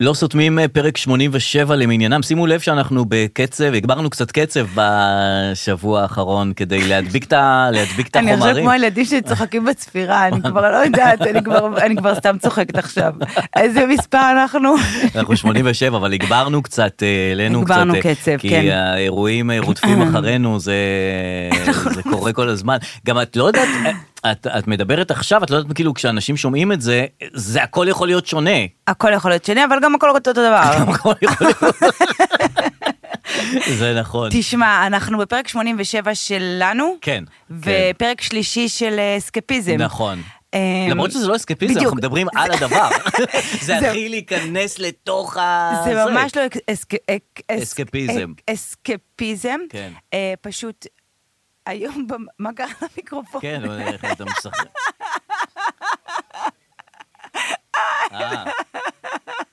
לא סותמים אה, פרק 87 למניינם, שימו לב שאנחנו בקצב, הגברנו קצת קצב בשבוע האחרון כדי להדביק את ה- להדביק את אני עכשיו החומרים. כמו הילדים שצוחקים בצפירה, אני כבר לא יודעת, אני כבר- אני כבר סתם צוחקת עכשיו. איזה מספר אנחנו? אנחנו 87, אבל הגברנו קצת, אה, העלינו קצת. הגברנו אה, קצב, כן. כי האירועים אה, רודפים אחרינו, זה נכון. זה קורה כל הזמן. גם את לא יודעת, אה, את- את מדברת עכשיו, את לא יודעת, כאילו, כשאנשים שומעים את זה, זה הכל יכול להיות שונה. הכל יכול להיות שני, אבל גם הכל אותו דבר. הכל יכול להיות. זה נכון. תשמע, אנחנו בפרק 87 שלנו, כן. כן. ופרק שלישי של אה, אסקפיזם. נכון. אמ, למרות שזה לא אסקפיזם, בדיוק. אנחנו מדברים על הדבר. זה זה- הכי להיכנס לתוך ה... זה ממש לא אק- אסק- אק- אס- אסקפיזם. אק- אסקפיזם. כן. אה, פשוט, היום, במ- מה קרה למיקרופון? כן, אבל איך אתה משחק. אה,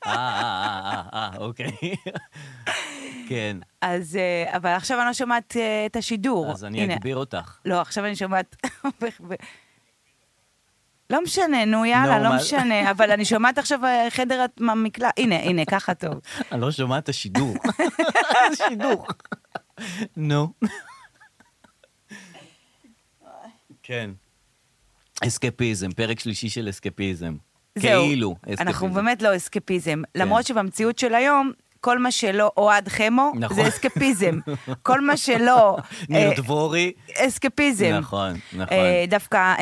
אה, אה, אה, אוקיי. כן, אז, אה, אבל עכשיו אני לא שומעת אה, את השידור. אז אני הנה. אגביר אותך. לא, עכשיו אני שומעת... ב- ב- לא משנה, נו יאללה, לא נורמל. משנה, אבל אני שומעת עכשיו אה, חדר הת- המקלט, הנה, הנה, ככה טוב. אני לא שומע את השידור. השידור. נו. כן. אסקפיזם, פרק שלישי של אסקפיזם. זהו. כאילו אסקפיזם. כן. אנחנו באמת לא אסקפיזם. למרות שבמציאות של היום, כל מה שלא אוהד חמו, נכון. זה אסקפיזם. כל מה שלא... ניר אה, דבורי. אסקפיזם. נכון, נכון. אה, דווקא אה,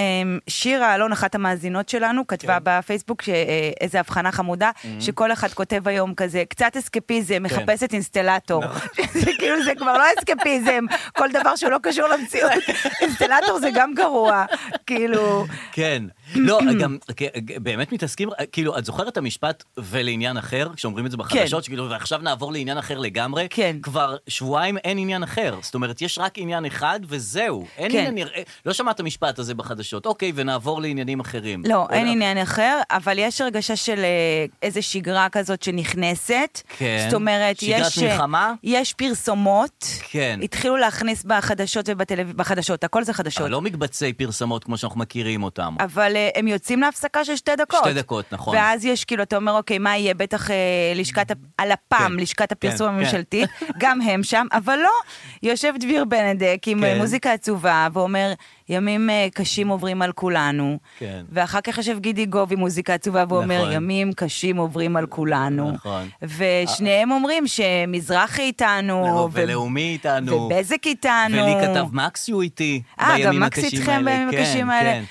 שירה אלון, אחת המאזינות שלנו, כן. כתבה בפייסבוק ש- אה, איזה הבחנה חמודה, Mm-hmm. שכל אחד כותב היום כזה, קצת כן. אסקפיזם, מחפשת אינסטלטור. נכון. זה כאילו זה כבר לא אסקפיזם, כל דבר שלא קשור למציאות. אינסטלטור זה גם גרוע, כאילו... כן. לא, גם כ- באמת מתעסקים, כאילו, את זוכרת את המשפט ולעניין אחר, כשאומרים את זה בחדשות, שכאילו, ועכשיו נעבור לעניין אחר לגמרי? כן. כבר שבועיים אין עניין אחר. זאת אומרת, יש רק עניין אחד וזהו. אין כן. עניין, נראה- לא שמעת את המשפט הזה בחדשות. אוקיי, ונעבור לעניינים אחרים. לא, או אין לא- עניין אחר, אבל יש הרגשה של אה, איזה שגרה כזאת שנכנסת. כן. זאת אומרת, שגרת יש... אה, מלחמה? יש פרסומות. כן. התחילו להכניס בחדשות ובטלוויזיה, בחדשות, הכל זה חדשות. אבל לא מקבצי פרסמות כמו שאנחנו מכירים אותם. אבל אה, הם יוצאים להפסקה של שתי דקות. שתי דקות, נכון. ואז יש כאילו, אתה אומר, אוקיי, מה יהיה? בטח אה, לשכת, הפ- הלפ"ם, כן, לשכת הפרסום כן, כן. הממשלתי, גם הם שם, אבל לא. יושב דביר בנדק עם כן. כן. מוזיקה עצובה, ואומר, ימים אה, קשים עוברים על כולנו. כן. ואחר כך יושב גידי גוב עם מוזיקה עצובה, ואומר, נכון. ימים קשים עוברים על כולנו. נכון. ושניהם אומרים שמזרחי איתנו, לא, ולאומי איתנו. ובזק איתנו. ולי כתב מקסיו איתי אה, גם בימים מקס הקשים איתכם האלה. בימים כן, הקשים כן. האלה.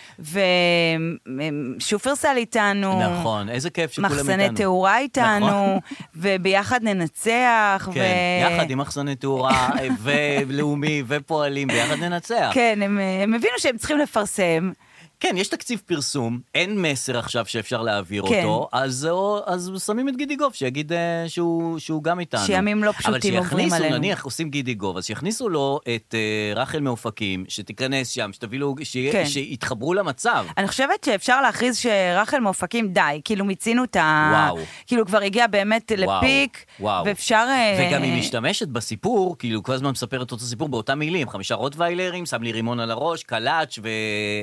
ושופרסל איתנו. נכון, איזה כיף שכולם איתנו. מחסני תאורה נכון. איתנו, וביחד ננצח. כן, ו- יחד עם מחסני תאורה, ולאומי, ופועלים, ביחד ננצח. כן, הם, הם הבינו שהם צריכים לפרסם. כן, יש תקציב פרסום, אין מסר עכשיו שאפשר להעביר כן. אותו, אז, או, אז שמים את גידי גוב, שיגיד אה, שהוא, שהוא גם איתנו. שימים לא פשוטים אבל עוברים שיכניסו, עלינו. נניח עושים גידי גוב, אז שיכניסו לו את אה, רחל מאופקים, שתיכנס שם, שתביא לו, שיה, כן. שיתחברו למצב. אני חושבת שאפשר להכריז שרחל מאופקים, די, כאילו מיצינו את ה... וואו. כאילו כבר הגיע באמת וואו, לפיק, וואו. ואפשר... אה, וגם היא משתמשת בסיפור, כאילו כל הזמן מספרת אותו סיפור באותם מילים, חמישה רוטוויילרים, שם לי רימון על הראש, קלאץ',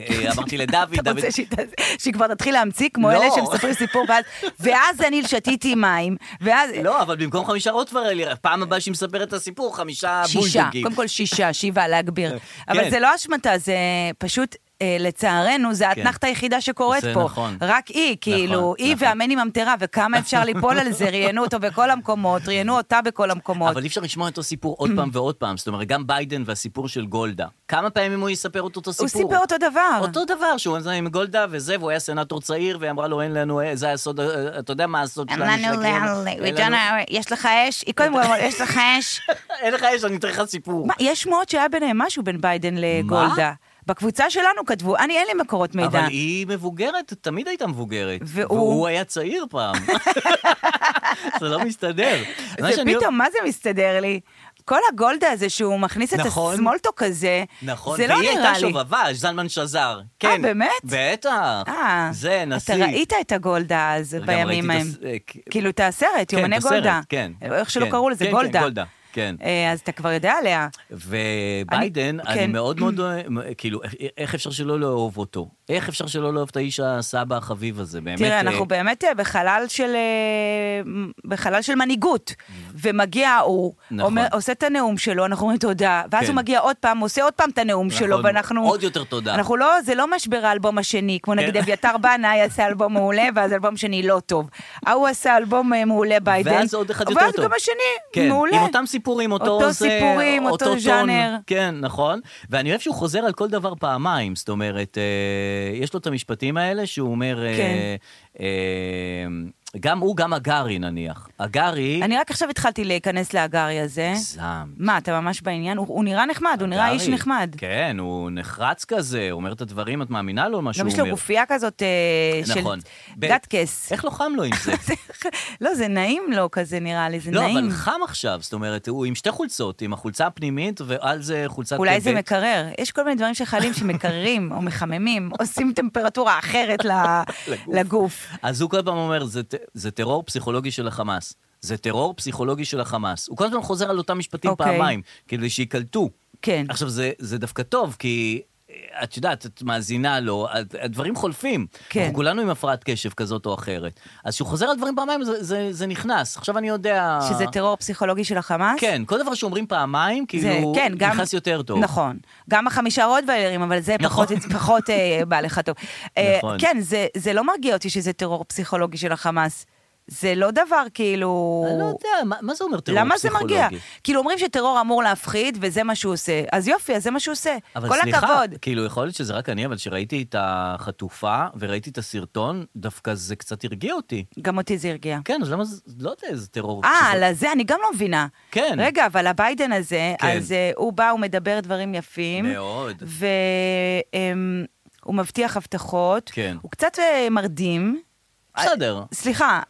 ואמרתי לדוד, אתה דוד... רוצה שהיא תעשה- שהיא כבר תתחיל להמציא כמו לא. אלה שמספרים סיפור, ואז- ואז אני שתיתי מים, ואז... לא, אבל במקום חמישה רוטוויילרים, פעם הבאה שהיא מספרת את הסיפור, חמישה שישה, בולדוגים. קודם כל שישה, שבעה להגביר. כן. אבל זה לא אשמתה, זה פשוט... אה, לצערנו, זה האתנחתא היחידה שקורית כן. זה פה. נכון. רק היא, כאילו, היא נכון. והמני ממטרה, וכמה אפשר ליפול על זה, ראיינו אותו בכל המקומות, ראיינו אותה בכל המקומות. אבל אי אפשר לשמוע אותו סיפור עוד פעם ועוד פעם. זאת אומרת, גם ביידן והסיפור של גולדה. כמה פעמים הוא יספר אותו אותו הוא סיפור? סיפר אותו דבר. אותו דבר, שהוא עזב עם גולדה וזה, והוא היה סנטור צעיר, והיא אמרה לו, אין לנו, אה, זה הסוד, אה, אתה יודע מה הסוד אין שלנו? של לנו הקריירה? לאן, אין we don't לנו- know, יש לך אש? היא קודם כל אמרה, יש לך אש? אין לך יש, אני אתן לך סיפור. מה, יש שמועות שהיה ביניהם משהו בין ביידן לגולדה. בקבוצה שלנו כתבו, אני אין לי מקורות מידע. אבל היא מבוגרת, תמיד הייתה מבוגרת. והוא- והוא היה צעיר פעם. זה לא מסתדר. מה זה שאני- פתאום, מה זה מסתדר לי? כל הגולדה הזה שהוא מכניס את נכון. הסמולטו כזה, נכון, זה לא והיא נראה הייתה לי. אה, שובבה, זלמן שזר. כן. באמת? בטח. אה, זה, נשיא. אתה ראית את הגולדה אז גם בימים ראיתי ההם. את הס- אה, כ- כאילו, את הסרט, כן, יומני את הסרט, גולדה. כן. איך שלא כן, קראו לזה, כן, כן, גולדה. גולדה, כן. אה, אז אתה כבר יודע עליה. וביידן, אני- אני, כן. מאוד מאוד, אוהב- כאילו, איך- איך אפשר שלא לאהוב אותו? איך אפשר שלא לאהוב את האיש הסבא החביב הזה? באמת, תראה, אה, אנחנו באמת אה, בחלל של אה, מ- בחלל של מנהיגות, ומגיע ההוא, נכון. אומר- עושה את הנאום שלו, אנחנו אומרים תודה, ואז כן. הוא מגיע עוד פעם, עושה עוד פעם את הנאום נכון, שלו, ואנחנו... עוד יותר תודה. כן. אנחנו לא, זה לא משבר האלבום השני, כמו נגיד אביתר בנאי עשה אלבום מעולה, ואז אלבום שני לא טוב. ההוא עשה אלבום אה, מעולה ביידן. ואז עוד אחד יותר טוב. ואז גם השני, כן, מעולה. עם אותם סיפורים, אותו, אותו זה, סיפורים, אותו טון. ז'אנר. כן, נכון. ואני אוהב שהוא חוזר על כל דבר פעמיים, זאת אומרת, אה, יש לו את המשפטים האלה שהוא אומר... אה, כן. אה, גם הוא, גם הגארי נניח. הגארי... אני רק עכשיו התחלתי להיכנס להגרי הזה. זם. מה, אתה ממש בעניין? הוא- הוא נראה נחמד, הוא נראה איש הגארי. נחמד. כן, הוא נחרץ כזה, הוא אומר את הדברים, את מאמינה לו מה שהוא גם אומר. לא, יש לו גופייה כזאת אה, של נכון. ב- גטקס. איך לא חם לו עם זה? לא, זה נעים לו כזה נראה לי, זה לא, נעים. אבל חם עכשיו, זאת אומרת, הוא עם שתי חולצות, עם החולצה הפנימית ועל זה חולצת אולי זה טבעת. מקרר. יש כל מיני דברים שחיילים שמקררים או מחממים, עושים טמפרטורה אחרת ל- לגוף. אז הוא כל פעם אומר, "זה ט- זה טרור פסיכולוגי של החמאס. זה טרור פסיכולוגי של החמאס. הוא כל הזמן חוזר על אותם משפטים אוקיי. פעמיים, כדי שייקלטו. כן. עכשיו, זה, זה דווקא טוב, כי אה, את יודעת, את מאזינה לו, הד- הדברים חולפים. כן. אנחנו כולנו עם הפרעת קשב כזאת או אחרת. אז כשהוא חוזר על דברים פעמיים, זה, זה, זה נכנס. עכשיו אני יודע... שזה טרור פסיכולוגי של החמאס? אה. כן, כל דבר שאומרים פעמיים, זה, כאילו, כן, גם... נכנס יותר טוב. נכון. גם החמישה רוטוויילרים, אבל זה נכון. פחות, פחות אה, בא לך טוב. אה, נכון. כן, זה, זה לא מרגיע אותי שזה טרור פסיכולוגי של החמאס. זה לא דבר כאילו... אני לא יודע, מה, מה זה אומר טרור למה זה פסיכולוגי? מרגיע? כאילו אומרים שטרור אמור להפחיד, וזה מה שהוא עושה. אז יופי, אז זה מה שהוא עושה. אבל כל סליחה, הכבוד. כאילו, יכול להיות שזה רק אני, אבל כשראיתי את החטופה וראיתי את הסרטון, דווקא זה קצת הרגיע אותי. גם אותי זה הרגיע. כן, אז למה זה, לא יודע, זה טרור. אה, פסיכולוגי. לזה אני גם לא מבינה. כן. רגע, אבל הביידן הזה, כן. אז אה, הוא בא, הוא מדבר דברים יפים. מאוד. והוא מבטיח הבטחות. כן. הוא קצת אה, מרדים. אה, בסדר. סליחה.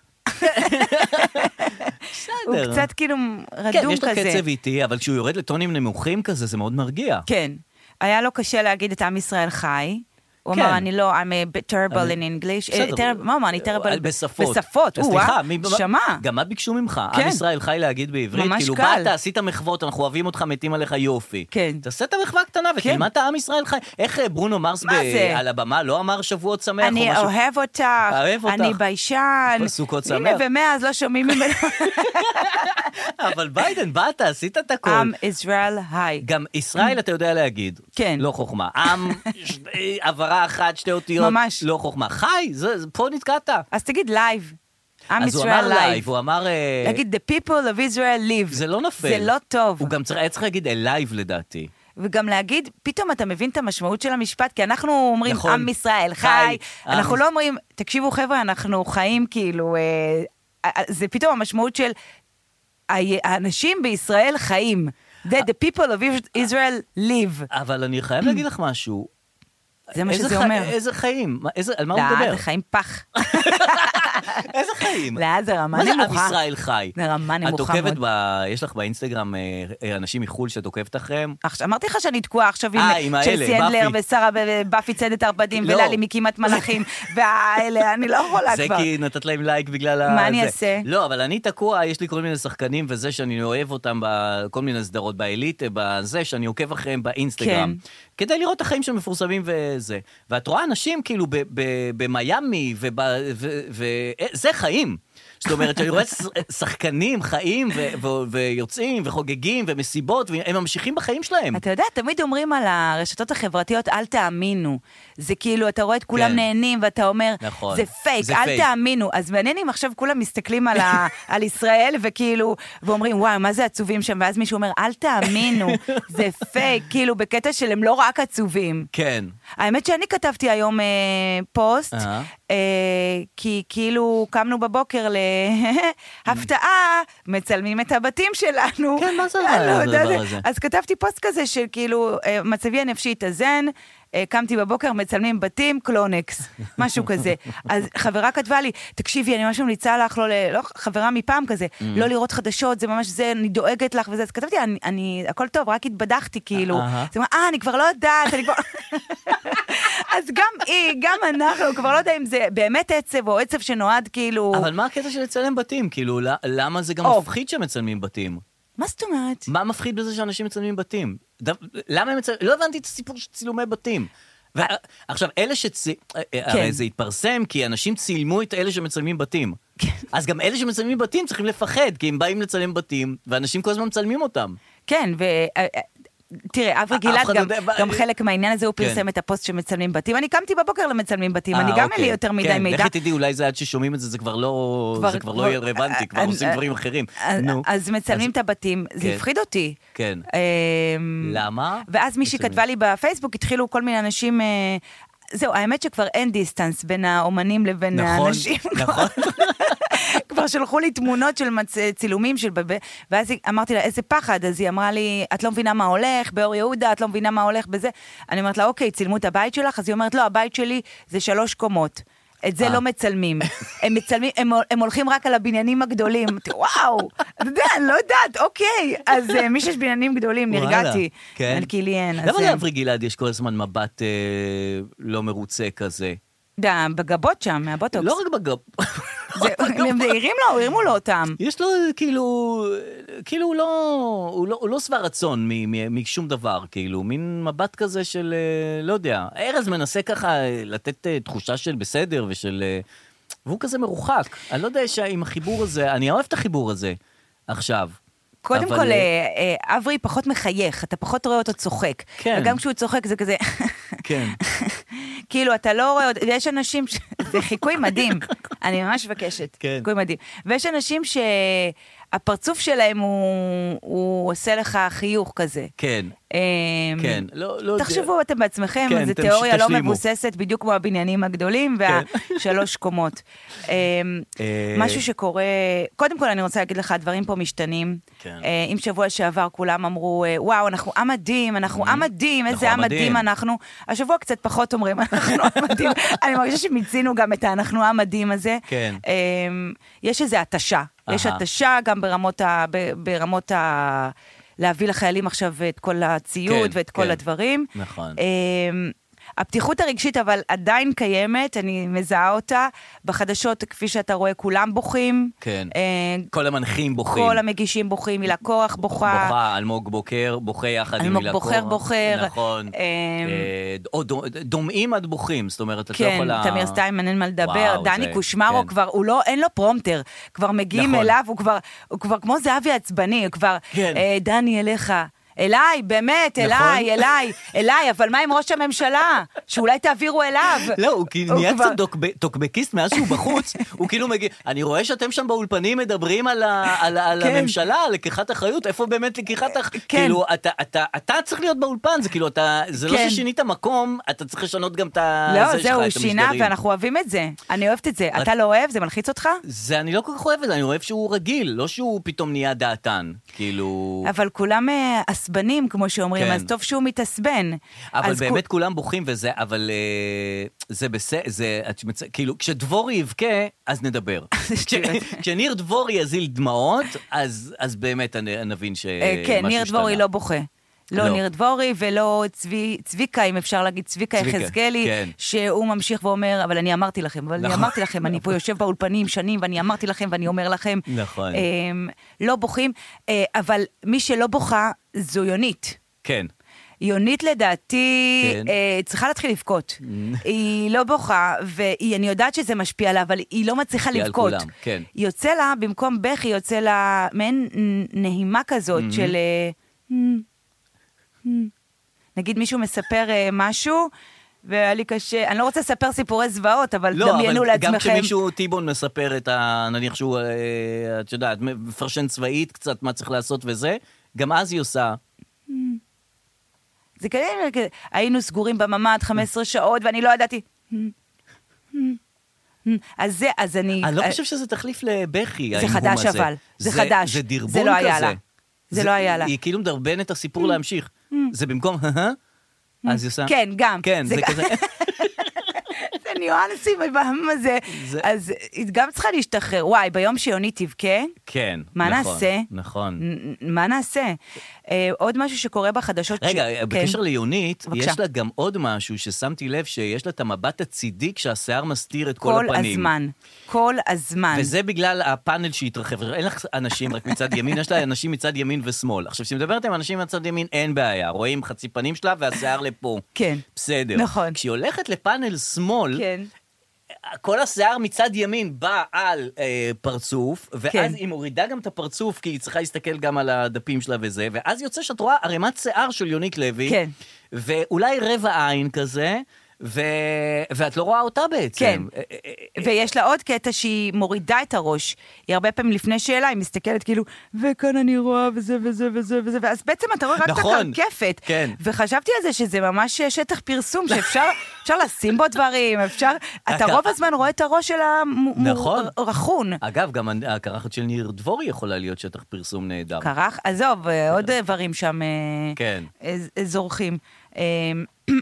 הוא בסדר. קצת כאילו רדום כזה. כן, יש לו קצב איטי, אבל כשהוא יורד לטונים נמוכים כזה, זה מאוד מרגיע. כן. היה לו קשה להגיד את עם ישראל חי. הוא כן. אמר, אני לא, I'm a terrible אני- in English. בסדר. אה, terrible- מה הוא אמר? אני terrible בשפות. בשפות, אז הוא, סליחה, אה, מי- שמע. גם מה ביקשו ממך? כן. עם ישראל חי להגיד בעברית? ממש כאילו, קל. באת, עשית מחוות, אנחנו אוהבים אותך, מתים עליך יופי. כן. תעשה את המחווה הקטנה ותלמד את עם ישראל חי. איך אה, ברונו מרס מה ב- זה? על הבמה לא אמר שבועות שמח או אני משהו? אוהב אותך, אוהב אותך. אני ביישן. בסוכות הנה, שמח. ומאז לא שומעים ממנו. אבל ביידן, באת, עשית את הכל. עם ישראל היי. גם ישראל אתה יודע להגיד. כן. לא חוכמה. עם, ש- הברה אחת, שתי אותיות. ממש. לא חוכמה. חי, זה, זה- פה נתקעת. אז תגיד לייב. עם אז הוא אמר ישראל לייב, לייב. הוא אמר... אה, להגיד the people of Israel live. זה לא נופל. זה לא טוב. הוא גם צריך- היה צריך להגיד אלייב לדעתי. וגם להגיד, פתאום אתה מבין את המשמעות של המשפט, כי אנחנו אומרים, נכון. עם ישראל חי. חי. אנחנו עם- לא אומרים, תקשיבו חבר'ה, אנחנו חיים כאילו, אה, אה, זה פתאום המשמעות של, ה- האנשים בישראל חיים. That the people of Israel live. אבל אני חייב להגיד לך משהו. זה מה איזה שזה חי- אומר. איזה חיים? מה- איזה- על מה הוא לא, מדבר? זה חיים פח. איזה חיים? לא, זה רמה מה זה עם נמוכה. ישראל חי? זה רמה את נמוכה עוקבת, מאוד. ב- יש לך באינסטגרם אה, אה, אנשים מחו"ל שאת עוקבת אחריהם? עכשיו, אמרתי לך שאני תקועה עכשיו אה, עם האלה, צ'לסי הנדלר באפי. ושרה ובאפי צדת ערפדים לא. וללי מכמעט מלאכים, והאלה, אני לא יכולה זה כבר. כי נתת להם לייק בגלל ה... מה אני זה. אעשה? לא, אבל אני תקוע, יש לי כל מיני שחקנים וזה שאני אוהב אותם בכל מיני סדרות באליט, בזה שאני עוקב אחריהם באינסטגרם. כן. כדי לראות את החיים שמפורסמים וזה. ואת רואה אנשים כאילו ב- ב- במיאמי, וזה ו- ו- אה, זה חיים. זאת אומרת, שאני רואה ש- שחקנים חיים ו- ו- ויוצאים וחוגגים ומסיבות, והם ממשיכים בחיים שלהם. אתה יודע, תמיד אומרים על הרשתות החברתיות, אל תאמינו. זה כאילו, אתה רואה את כולם כן. נהנים, ואתה אומר, נכון. זה פייק, זה אל פייק." תאמינו. אז מעניין אם עכשיו כולם מסתכלים על, ה, על ישראל, וכאילו, ואומרים, וואי, מה זה עצובים שם? ואז מישהו אומר, אל תאמינו, זה פייק, כאילו, בקטע של הם לא רק עצובים. כן. האמת שאני כתבתי היום אה, פוסט, אהה. אה, כי כאילו קמנו בבוקר להפתעה, מצלמים את הבתים שלנו. כן, מה זה אני לא הדבר יודעת. הזה? אז כתבתי פוסט כזה של כאילו, אה, מצבי הנפשי התאזן, אה, קמתי בבוקר, מצלמים בתים, קלונקס, משהו כזה. אז חברה כתבה לי, תקשיבי, אני ממש ממליצה לך, לא, ל- לא, חברה מפעם כזה, Mm. לא לראות חדשות, זה ממש זה, אני דואגת לך וזה. אז כתבתי, אני, אני הכל טוב, רק התבדחתי כאילו. אהה. אז היא אמרה, אה, אני כבר לא יודעת, אני כבר... אז גם היא, גם אנחנו, כבר לא יודע אם זה באמת עצב או עצב שנועד כאילו... אבל מה הקטע של לצלם בתים? כאילו, ל- למה זה גם אוף. מפחיד שמצלמים בתים? מה זאת אומרת? מה מפחיד בזה שאנשים מצלמים בתים? דו, למה הם מצלמים? לא הבנתי את הסיפור של צילומי בתים. עכשיו, אלה שצ... אה, כן. הרי זה התפרסם כי אנשים צילמו את אלה שמצלמים בתים. כן. אז גם אלה שמצלמים בתים צריכים לפחד, כי הם באים לצלם בתים, ואנשים כל הזמן מצלמים אותם. כן, ו... תראה, אה, אברי גלעד, גם, לא יודע... גם חלק מהעניין הזה, הוא פרסם כן. את הפוסט שמצלמים בתים. אני קמתי בבוקר למצלמים בתים, 아, אני גם אין לי יותר מדי אה, כן, מידע. אה, כן, לכי תדעי, אולי זה עד ששומעים את זה, זה כבר לא, כבר, זה כבר לא יהיה רלוונטי, כבר עושים דברים אחרים. נו. אה, אז מצלמים את הבתים, זה הפחיד אותי. אמ, כן. למה? ואז מישהי כתבה לי בפייסבוק, התחילו כל מיני אנשים... אה, זהו, האמת שכבר אין דיסטנס בין האומנים לבין נכון, האנשים. נכון, כבר שלחו לי תמונות של מצ... צילומים של... ואז אמרתי לה, איזה פחד. אז היא אמרה לי, את לא מבינה מה הולך, באור יהודה, את לא מבינה מה הולך בזה. אני אומרת לה, אוקיי, צילמו את הבית שלך? אז היא אומרת, לא, הבית שלי זה שלוש קומות. את אה. זה לא מצלמים. הם מצלמים, הם, הם הולכים רק על הבניינים הגדולים. וואו, אתה יודע, אני לא יודעת, אוקיי. אז uh, מי שיש בניינים גדולים, נרגעתי. כן. מלכילי אין. אה, למה לאברי גלעד יש כל הזמן מבט אה, לא מרוצה כזה? דה, בגבות שם, מהבוטוקס. לא רק בגב... הם העירים לו, הרימו לו אותם. יש לו כאילו, כאילו הוא לא, הוא לא, הוא לא שבע רצון משום דבר, כאילו, מין מבט כזה של, לא יודע, ארז מנסה ככה אה, לתת תחושה של בסדר ושל... אה, והוא כזה מרוחק. אני לא יודע אם החיבור הזה, אני אוהב את החיבור הזה עכשיו. קודם אה, אבל... כל, אה, אברי פחות מחייך, אתה פחות רואה אותו צוחק. כן. וגם כשהוא צוחק זה כזה... כן. כאילו, אתה לא רואה, ויש אנשים, ש... זה חיקוי מדהים, אני ממש מבקשת, כן. חיקוי מדהים. ויש אנשים שהפרצוף שלהם הוא, הוא עושה לך חיוך כזה. כן. אמ... כן, לא, לא תחשבו אתם בעצמכם, כן, זו אתם תיאוריה לא תשלימו. כן. מבוססת, בדיוק כמו הבניינים הגדולים והשלוש קומות. אמ, אה, משהו שקורה, קודם כל אני רוצה להגיד לך, הדברים פה משתנים. כן. אה, אם שבוע שעבר כולם אמרו, אה, וואו, אנחנו עם מדהים, אנחנו עם מדהים, Mm-hmm. אנחנו איזה עם עם מדהים." מדהים אנחנו. השבוע קצת פחות אומרים, אנחנו עם מדהים. אני מרגישה שמיצינו גם את האנחנו עם מדהים הזה. כן. אה, יש איזו התשה. יש אהה. התשה גם ברמות ה... ב- ברמות ה... להביא לחיילים עכשיו את כל הציוד כן, ואת כל כן. הדברים. נכון. אמ, הפתיחות הרגשית אבל עדיין קיימת, אני מזהה אותה. בחדשות, כפי שאתה רואה, כולם בוכים. כן. אה, כל המנחים בוכים. כל המגישים בוכים, הילה קורח בוכה. בוכה, אלמוג בוקר, בוכה יחד עם אלמוג הילה בוחר קורח. בוחר. נכון. אמ, אה, או דו- דומעים עד בוכים, זאת אומרת, אתה כן, יכול... לה- תמיר סטיימן, אין מה לדבר, לא וואו, דני זה- קושמרו כן. כבר, הוא לא, אין לו פרומטר, כבר מגיעים נכון. אליו, הוא כבר, הוא כבר כמו זהבי עצבני, הוא כבר, כן. "אה, דני, אליך. אליי, באמת, נכון. אליי, אליי, אליי, אבל מה עם ראש הממשלה? שאולי תעבירו אליו. לא, הוא כאילו נהיה כבר- קצת טוקב- טוקבקיסט מאז שהוא בחוץ, הוא כאילו מגיע, אני רואה שאתם שם באולפנים מדברים על ה- על ה- על כן. הממשלה, על לקיחת אחריות, איפה באמת לקיחת אחריות? כן. כאילו, אתה- אתה- אתה צריך להיות באולפן, זה כאילו, אתה, זה לא כן. ששינית מקום, אתה צריך לשנות גם את ה... לא, זה שלך, זהו, הוא את שינה, המשדרים. ואנחנו אוהבים את זה. אני אוהבת את זה. אתה לא אוהב? זה מלחיץ אותך? זה, אני לא כל כך אוהב את זה, אני אוהב שהוא רגיל, לא שהוא פתאום נהיה דעתן, כאילו... אבל כולם אה, עשבנים, כמו שאומרים, כן. אז טוב שהוא מתעצבן. אבל אז כו- באמת כולם בוכים וזה, אבל אה, זה בסדר, זה, את מצ... כאילו, כשדבורי יבכה, אז נדבר. כש- כשניר דבורי יזיל דמעות, אז, אז באמת אני- נבין שמשהו אה, השתנה. כן, ניר דבורי לא בוכה. לא, לא. ניר דבורי ולא צבי, צביקה, אם אפשר להגיד, צביקה צביקה, יחזקאלי, כן. שהוא ממשיך ואומר, אבל אני אמרתי לכם, אבל אני נכון. אמרתי לכם, אני פה יושב באולפנים שנים, ואני אמרתי לכם ואני אומר לכם. נכון. אמ, לא בוכים, אה, אבל מי שלא בוכה זו יונית. כן. יונית לדעתי כן. Mm. אה, צריכה להתחיל לבכות. היא לא בוכה, ואני יודעת שזה משפיע עליה, אבל היא לא מצליחה משפיע על לבכות. כולם, כן. יוצא לה, במקום בכי, יוצא לה מעין נהימה כזאת Mm-hmm. של... אה, "מ, מ". נגיד מישהו מספר אה, משהו, והיה לי קשה, אני לא רוצה לספר סיפורי זוועות, אבל לא, אבל דמיינו גם לעצמכם. כשמישהו, טיבון מספר את ה... נניח שהוא, אה, את יודעת, מפרשן צבאית קצת, מה צריך לעשות וזה, גם אז היא עושה... זה כנראה, כזה, היינו סגורים בממ"ד 15 שעות, ואני לא ידעתי... "מ, מ, מ". אז זה, אז אני... אני לא אה, חושב שזה תחליף לבכי, זה ההמהום הזה. חדש אבל, זה חדש. זה דרבון כזה. זה לא היה לה. זה לא היה לה. Mm. היא כאילו מדרבנת את הסיפור להמשיך. זה במקום, "הא-הא", אז היא עושה... כן, Mm. גם. כן, זה כזה... זה הניואנסים הבאים הזה. זה- אז היא גם צריכה להשתחרר. וואי, ביום שיונית תבכה, כן, מה נכון, נעשה? נכון. נ- נ- מה נעשה? אה, עוד משהו שקורה בחדשות... רגע, ש- בקשר כן. ליונית, בבקשה. יש לה גם עוד משהו ששמתי לב שיש לה את המבט הצידי כשהשיער מסתיר את כל כל הפנים. הזמן. כל הזמן. וזה בגלל הפאנל שהתרחב. אין לך אנשים רק מצד ימין, יש לה אנשים מצד ימין ושמאל. עכשיו, כשמדברת עם אנשים מצד ימין, אין בעיה. רואים חצי פנים שלה והשיער לפה. כן. בסדר. נכון. כשהיא הולכת לפאנל שמאל, כן. כל השיער מצד ימין בא על אה, פרצוף, ואז כן. היא מורידה גם את הפרצוף, כי היא צריכה להסתכל גם על הדפים שלה וזה, ואז יוצא שאת רואה ערימת שיער של יונית לוי, כן. ואולי רבע עין כזה, ו... ואת לא רואה אותה בעצם. כן. אה, אה, אה, ויש לה עוד קטע שהיא מורידה את הראש. היא הרבה פעמים לפני שאלה, היא מסתכלת כאילו, וכאן אני רואה וזה וזה וזה וזה, ואז בעצם אתה רואה רק נכון, את הקרקפת. כן. וחשבתי על זה שזה ממש שטח פרסום, שאפשר אפשר לשים בו דברים, אפשר... אתה אתה- רוב הזמן רואה את הראש שלה מ- מ- נכון. רכון. אגב, גם הקרחת של ניר דבורי יכולה להיות שטח פרסום נהדר. קרח, עזוב, אה, עוד איברים שם אה, כן. אה, ז- אה, זורחים. אה,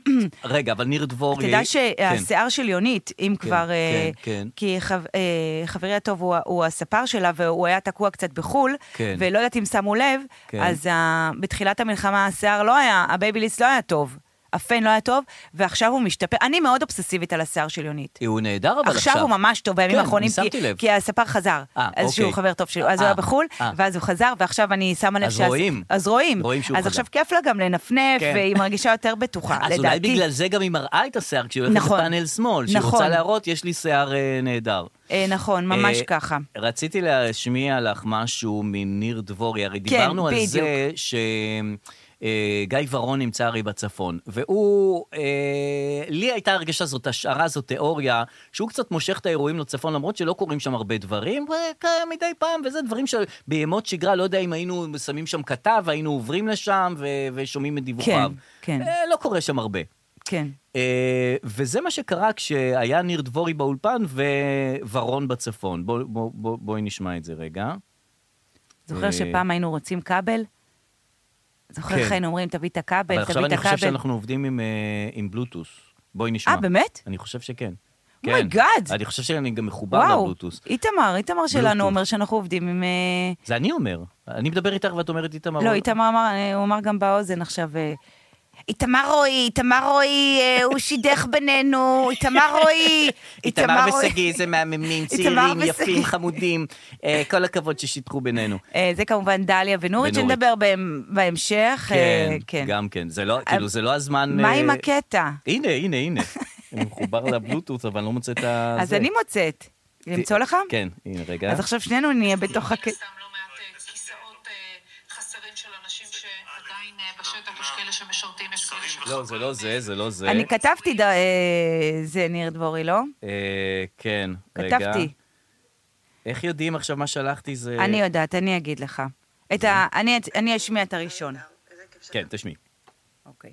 רגע, אבל ניר דבורי... תדע כן. שהשיער של יונית, אם כבר... אה, כן, כן. כי חב- אה, חברי הטוב הוא ה- הוא הספר שלה, והוא היה תקוע קצת בחו"ל, כן. ולא יודעת אם שמו לב, כן. אז ה- בתחילת המלחמה השיער לא היה, הבייביליס לא היה טוב. הפן לא היה טוב, ועכשיו הוא משתפר. אני מאוד אובססיבית על השיער של יונית. הוא נהדר, לא, אבל עכשיו... עכשיו הוא ממש טוב בימים כן, האחרונים, אני שמתי כי- לב. כי הספר חזר. אה, אז שהוא אוקיי. חבר טוב שלו, אז הוא אה, היה בחו"ל, אה. ואז הוא חזר, ועכשיו אני שמה לב אז רואים. אז רואים. רואים שהוא אז חזר. עכשיו כיף לה גם לנפנף, כן. והיא מרגישה יותר בטוחה, אז לדעתי. אולי בגלל זה גם היא מראה את השיער כשהיא הולכת נכון. לפאנל שמאל, שהיא נכון. רוצה להראות, יש לי שיער אה, נהדר. אה, נכון, ממש אה, ככה. רציתי להשמיע לך משהו מניר דבורי, הרי דיברנו על כן, בדיוק. זה ש... אה, גיא ורון נמצא הרי בצפון, והוא, אה, לי הייתה הרגשה, זאת השערה, זאת תיאוריה, שהוא קצת מושך את האירועים לצפון, למרות שלא קורים שם הרבה דברים, וכ- מדי פעם, וזה דברים שבימות שגרה, לא יודע אם היינו שמים שם כתב, היינו עוברים לשם ו- ושומעים את דיווחיו. כן. אה, לא קורה שם הרבה. כן. אה, וזה מה שקרה כשהיה ניר דבורי באולפן וורון בצפון. בוא, בוא, בוא, בואי נשמע את זה רגע. אה, זוכר שפעם היינו רוצים כבל? זוכר כן. איך היינו אומרים, תביא את אבל הכבל, עכשיו תביא את אני חושב הכבל. שאנחנו עובדים עם, אה, עם בלוטוס. בואי נשמע. אה, באמת? אני חושב שכן. כן. Oh my God. אני חושב שאני גם מחובר וואו, לבלוטוס. איתמר, איתמר שלנו בלוטוס. אומר שאנחנו עובדים עם... אה, זה אני אומר. אני מדבר איתך ואת אומרת איתמר. לא, אבל- איתמר אמר, אה, הוא אמר גם באוזן עכשיו... אה, איתמר רועי, איתמר רועי, אה, הוא שידך בינינו, איתמר רועי, איתמר רועי. ושגיא זה מהממים, איתמר צעירים, ושגיא. יפים, חמודים. אה, כל הכבוד ששיתפו בינינו. אה, זה כמובן דליה ונורית, ונורית. שנדבר בהם בהמשך. אה, כן, גם כן. זה לא, כאילו, זה לא הזמן... מה אה, עם הקטע? הנה, הנה, הנה. אני מחובר לבלוטות, אבל אני לא מוצא את ה... אז זה. אני מוצאת. למצוא לך? כן, הנה, רגע. אז עכשיו שנינו נהיה בתוך הקטע. יש סתם לא מעט אה, כיסאות אה, חסרים של אנשים שעדיין אה, בשטח, יש כאלה שמשרתים, יש כאלה ש... לא, זה לא זה, זה לא זה. אני כתבתי, ד- אה, זה ניר דבורי, לא? אה, כן, רגע. כתבתי. איך יודעים עכשיו מה שלחתי זה... אני יודעת, אני אגיד לך. את ה... אני- אני אשמיע את הראשון. כן, תשמעי. אוקיי.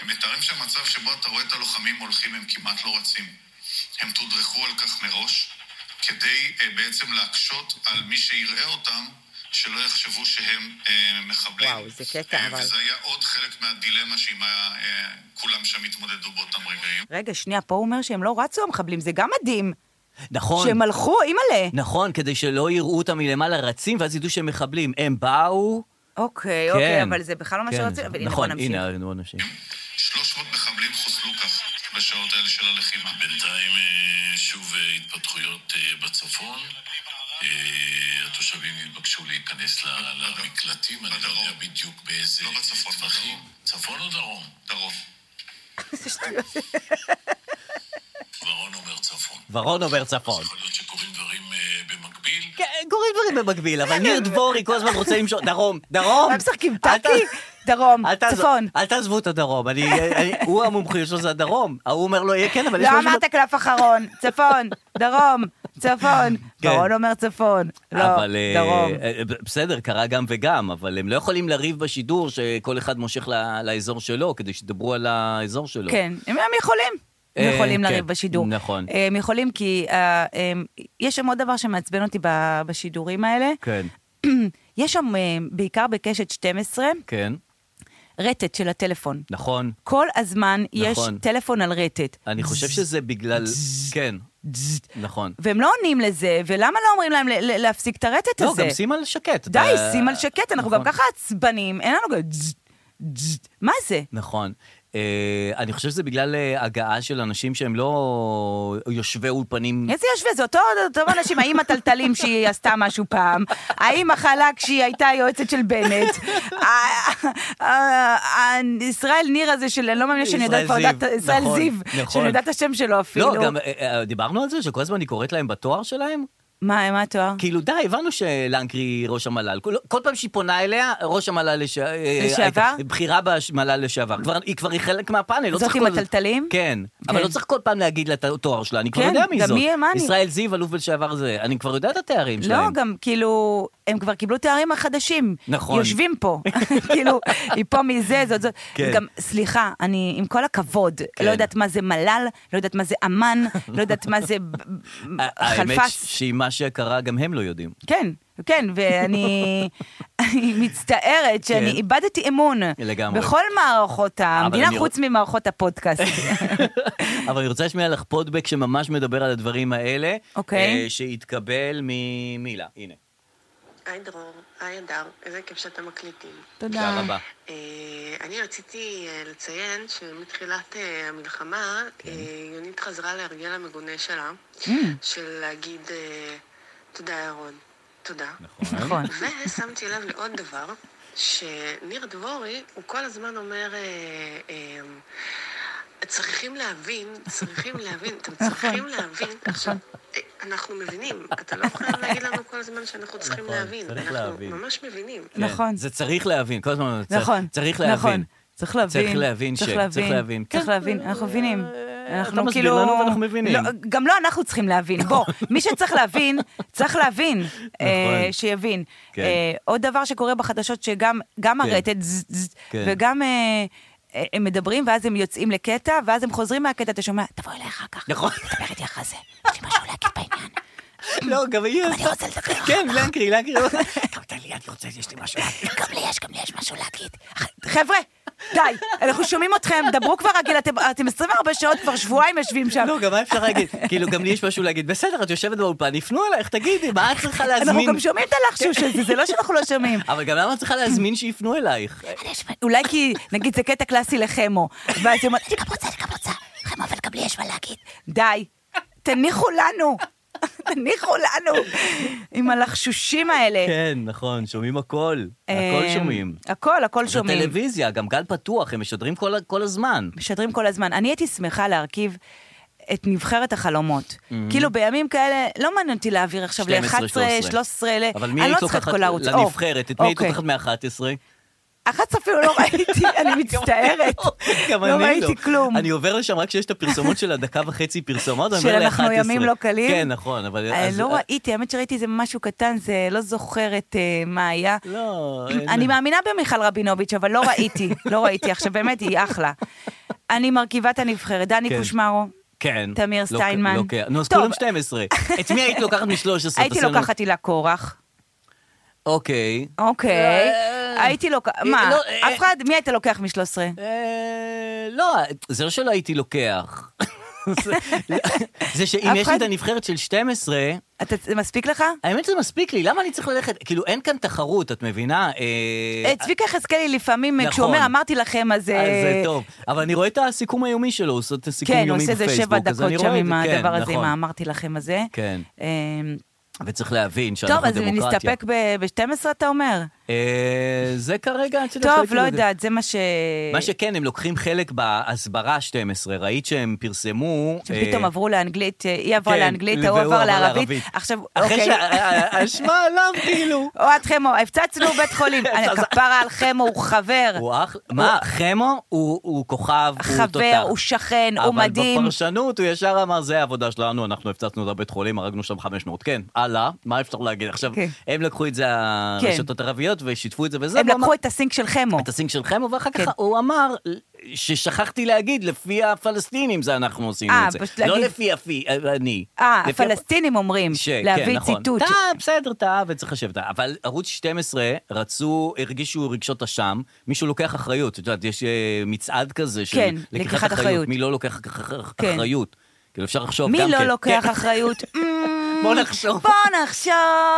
הם מתארים שם מצב שבו אתה רואה את הלוחמים הולכים, הם כמעט לא רצים. הם תודרכו על כך מראש, כדי אה, בעצם להקשות על מי שיראה אותם, שלא יחשבו שהם אה, מחבלים. וואו, זה קטע, אה, אבל- וזה היה עוד חלק מהדילמה שעימה אה, כולם שם התמודדו באותם רגעים. רגע, שנייה, פה הוא אומר שהם לא רצו המחבלים, זה גם מדהים. נכון. שהם הלכו, אימא'לה. נכון, כדי שלא יראו אותם מלמעלה רצים, ואז ידעו שהם מחבלים. הם באו... אוקיי, כן. אוקיי, אבל זה בכלל לא מה כן, שרצינו. אבל הנה, בוא נכון, נמשיך. הנה, בוא נמשיך. 300 מחבלים חוסלו כך בשעות האלה של הלחימה. בינתיים אה, שוב אה, התפתחויות אה, בצפון. אה, התושבים התבקשו להיכנס ל- למקלטים, אני לא יודע בדרום. בדיוק באיזה לא בצפון, טווחים. בדרום. צפון או דרום? דרום. ורון אומר צפון. ורון עובר צפון. כן. יכול להיות שקורים דברים אה, במקביל. כן, קורים דברים במקביל, אבל ניר דבורי כל הזמן רוצה למשוך... דרום, דרום. כן, מה משחקים, אל ת- טאקי? דרום, אל תעזוב- צפון. אל תעזבו את הדרום, אני- אני- הוא המומחיות שלו זה הדרום. ההוא אומר לו, "יהיה, כן, אבל יש לא משהו... ב-" אמרת קלף אחרון, צפון, דרום, צפון. כן. ברון אומר צפון, לא, אבל, אה, דרום. אה, בסדר, קרה גם וגם, אבל הם לא יכולים לריב בשידור שכל אחד מושך ל- לאזור שלו, כדי שידברו על האזור שלו. כן, הם, הם יכולים. הם אה, יכולים כן, לריב בשידור. נכון. אה, הם יכולים כי אה, הם- יש שם עוד דבר שמעצבן אותי ב- בשידורים האלה. כן, יש שם, אה, בעיקר בקשת 12, כן. רטט של הטלפון. נכון. כל הזמן יש נכון. טלפון על רטט. אני חושב שזה בגלל... כן, נכון. והם לא עונים לזה, ולמה לא אומרים להם ל- ל- להפסיק את הרטט לא, הזה? גם שים על שקט. די, ב- שים על שקט, אנחנו גם נכון. ככה עצבנים, אין לנו גם... זז, זז. מה זה? נכון. אה, אני חושב שזה בגלל אה, הגעה של אנשים שהם לא יושבי אולפנים. איזה יושבי, זה אותו, אותם אנשים, האם הטלטלים שהיא עשתה משהו פעם, האם החלק שהיא הייתה יועצת של בנט, ה- ה- ה- ישראל ניר הזה של, אני לא מאמינה שאני יודעת ישראל כבר, יודעת- זיו, ישראל נכון, זיו, נכון. שאני יודעת את השם שלו אפילו. לא, גם אה, אה, דיברנו על זה שכל הזמן היא קוראת להם בתואר שלהם? מה, מה התואר? כאילו, די, הבנו שלנקרי ראש המל"ל. כל- כל פעם שהיא פונה אליה, ראש המל"ל לש- אה, לשעבר? הייתה- בחירה במל"ל לשעבר. כבר- היא כבר היא חלק מהפאנל, לא זאת צריך עם כל... הטלטלים? כן. כן. אבל לא צריך כל פעם להגיד לה את התואר שלה, אני כבר כן, יודע מי גם זאת. מי, מה אני? ישראל זיו, אלוף לשעבר זה. אני כבר יודע את התארים לא, שלהם. גם כאילו, הם כבר קיבלו תארים החדשים. נכון. יושבים פה. כאילו, היא פה מזה, זאת זאת. כן. גם, סליחה, אני, עם כל הכבוד, כן. לא יודעת מה זה מל"ל, לא יודעת מה זה אמ"ן, לא יודעת מה זה ב- ב- האמת חלפס. שהיא מה שקרה, גם הם לא יודעים. כן, כן, ואני אני מצטערת שאני כן. איבדתי אמון. לגמרי. בכל מערכות המדינה, אני חוץ רוצ- ממערכות הפודקאסט. אבל אני רוצה להשמיע לך פודבק שממש מדבר על הדברים האלה. אוקיי. אה, שהתקבל ממילה, הנה. היי דרור, היי אדר, איזה כיף שאתם מקליטים. תודה רבה. אה, אני רציתי אה, לציין שמתחילת אה, המלחמה, אה, יונית חזרה להרגל המגונה שלה, של להגיד אה, תודה ירון, תודה. נכון. ושמתי לב לעוד דבר, שניר דבורי, הוא כל הזמן אומר, אה, אה, צריכים להבין, צריכים להבין, אתם צריכים להבין. עכשיו, אה, אנחנו מבינים, אתה לא חייב להגיד לנו כל הזמן שאנחנו צריכים נכון, להבין. צריך להבין. אנחנו ממש מבינים. כן, נכון. זה צריך להבין, כל הזמן צריך- נכון. צריך נכון. להבין. צריך להבין. צריך להבין ש- צריך צריך להבין. להבין. צריך כן. אה, להבין, אנחנו מבינים. אנחנו מסביר כאילו... לנו ואנחנו מבינים. לא, גם לא אנחנו צריכים להבין. בוא, מי שצריך להבין, צריך להבין, אה, נכון. שיבין. כן. אה, עוד דבר שקורה בחדשות, שגם גם כן. הרטט, ז- ז- כן. וגם... אה, אה, הם מדברים, ואז הם יוצאים לקטע, ואז הם חוזרים מהקטע, אתה שומע, תבוא אליי אחר כך. נכון. תדבר איתי אחרי זה, יש לי משהו להגיד בעניין. לא, גם היא... אני רוצה לדבר אחר כן, לנקרי, לנקרי. גם תן לי, אני רוצה, יש לי משהו. גם לי יש, גם לי יש משהו להגיד. חבר'ה, די, אנחנו שומעים אתכם, דברו כבר רגיל, אתם, אתם 24 שעות, כבר שבועיים יושבים שם. לא, גם מה אפשר להגיד? כאילו, גם לי יש משהו להגיד. בסדר, את יושבת באולפן, יפנו אלייך, תגידי, מה את צריכה להזמין? אנחנו גם שומעים את הלחשוש הזה, זה לא שאנחנו לא שומעים. אבל גם למה את צריכה להזמין שיפנו אלייך? אה. אולי כי, נגיד, זה קטע קלאסי לחמו, ואז היא אומרת, אני גם רוצה, אני גם רוצה, חמו, אבל גם לי יש מה להגיד. די, תניחו לנו, תניחו לנו, עם הלחשושים האלה. כן, נכון, שומעים הכל. הכל אה, שומעים. הכל, הכל זה שומעים. טלוויזיה, גם גל פתוח, הם משדרים כל ה- כל הזמן. משדרים כל הזמן. אני הייתי שמחה להרכיב את נבחרת החלומות. Mm-hmm. כאילו בימים כאלה, לא מעניין אותי להעביר עכשיו ל-11, 13, ל... אבל מי אני לא היית צריכה את לוקחת כל הערוץ. אוקיי. לנבחרת? את מי היית לוקחת מ-11? 11 אפילו לא ראיתי, אני מצטערת. גם לא אני לא. ראיתי כלום. אני עובר לשם רק כשיש את הפרסומות של הדקה וחצי פרסומות, אני עובר של ל-11. אנחנו ימים לא קלים? כן, נכון, אבל... אה, אז- לא ראיתי, האמת שראיתי איזה משהו קטן, זה לא זוכרת אה, מה היה. לא, אין- אני מאמינה במיכל רבינוביץ', אבל לא ראיתי, לא ראיתי. עכשיו, באמת, היא אחלה. אני מרכיבה את הנבחרת, דני כן. קושמרו. כן. תמיר לא- סטיינמן. לא כן. נו, אז טוב. כולם 12. את מי היית לוקחת מ-13? הייתי לוקחת הילה קורח. אוקיי. אוקיי. אה, הייתי לוקח... אה, מה? לא, אה, אף אחד? מי היית לוקח מ-13? אה, לא, זה לא שלא הייתי לוקח. זה- זה שאם אף יש אחד- לי את הנבחרת של 12, אתה- זה מספיק לך? האמת שזה מספיק לי, למה אני צריך ללכת? כאילו, אין כאן תחרות, את מבינה? אה, אה, צביקה יחזקאלי לפעמים, אה, נכון. כשהוא אומר אמרתי לכם, אז... אז זה אה, טוב. אבל אני רואה את הסיכום היומי שלו, הוא עושה את הסיכום כן, הוא היומי עושה בפייסבוק. איזה שבע אז אני דקות רואה שם את עם זה, כן, הדבר הזה, עם נכון. האמרתי לכם הזה. כן. אה, וצריך להבין שאנחנו טוב, אז דמוקרטיה. נסתפק ב-12 אתה אומר? אה, זה כרגע... את יודעת, טוב, חלק לא מזה. יודעת, זה מה ש... מה שכן, הם לוקחים חלק בהסברה 12, ראית שהם פרסמו... שפתאום אה, עברו לאנגלית, אה, היא עברה כן, לאנגלית, ההוא והוא עבר לערבית. עכשיו, אחרי אה, אוקיי. שהאשמה עליו, כאילו. או עד חמו, הפצצנו בית חולים. אני- כפרה על חמו, הוא חבר. הוא אח... מה, חמו הוא הוא כוכב, הוא תותח. חבר, הוא שכן, הוא מדהים. אבל בפרשנות הוא ישר אמר, זה העבודה שלנו, אנחנו הפצצנו את הבית חולים, הרגנו שם 500. כן, הלאה, מה אפשר להגיד? עכשיו, כן. הם לקחו את זה, הרשתות הערביות, ושיתפו את זה וזה. הם והוא אמר- לקחו את הסינק של חמו. את הסינק של חמו, ואחר כן. כך הוא אמר, ששכחתי להגיד, לפי הפלסטינים זה אנחנו עושים אה, את זה. פשוט לא להגיד- לפי הפי, אני. אה, לפי הפ- הפלסטינים אומרים, ש- כן, להביא נכון. ציטוט. טעה, בסדר, טעה, וצריך לשבת. אבל ערוץ 12 רצו, הרגישו רגשות אשם, מישהו לוקח אחריות. את יודעת, יש אה, מצעד כזה של כן, לקיחת אחריות. מי לא לוקח אח- אח- כן. אחריות? כאילו, אפשר לחשוב מי גם לא כן. לוקח כן. אחריות? Mm, בוא נחשוב. בוא נחשוב.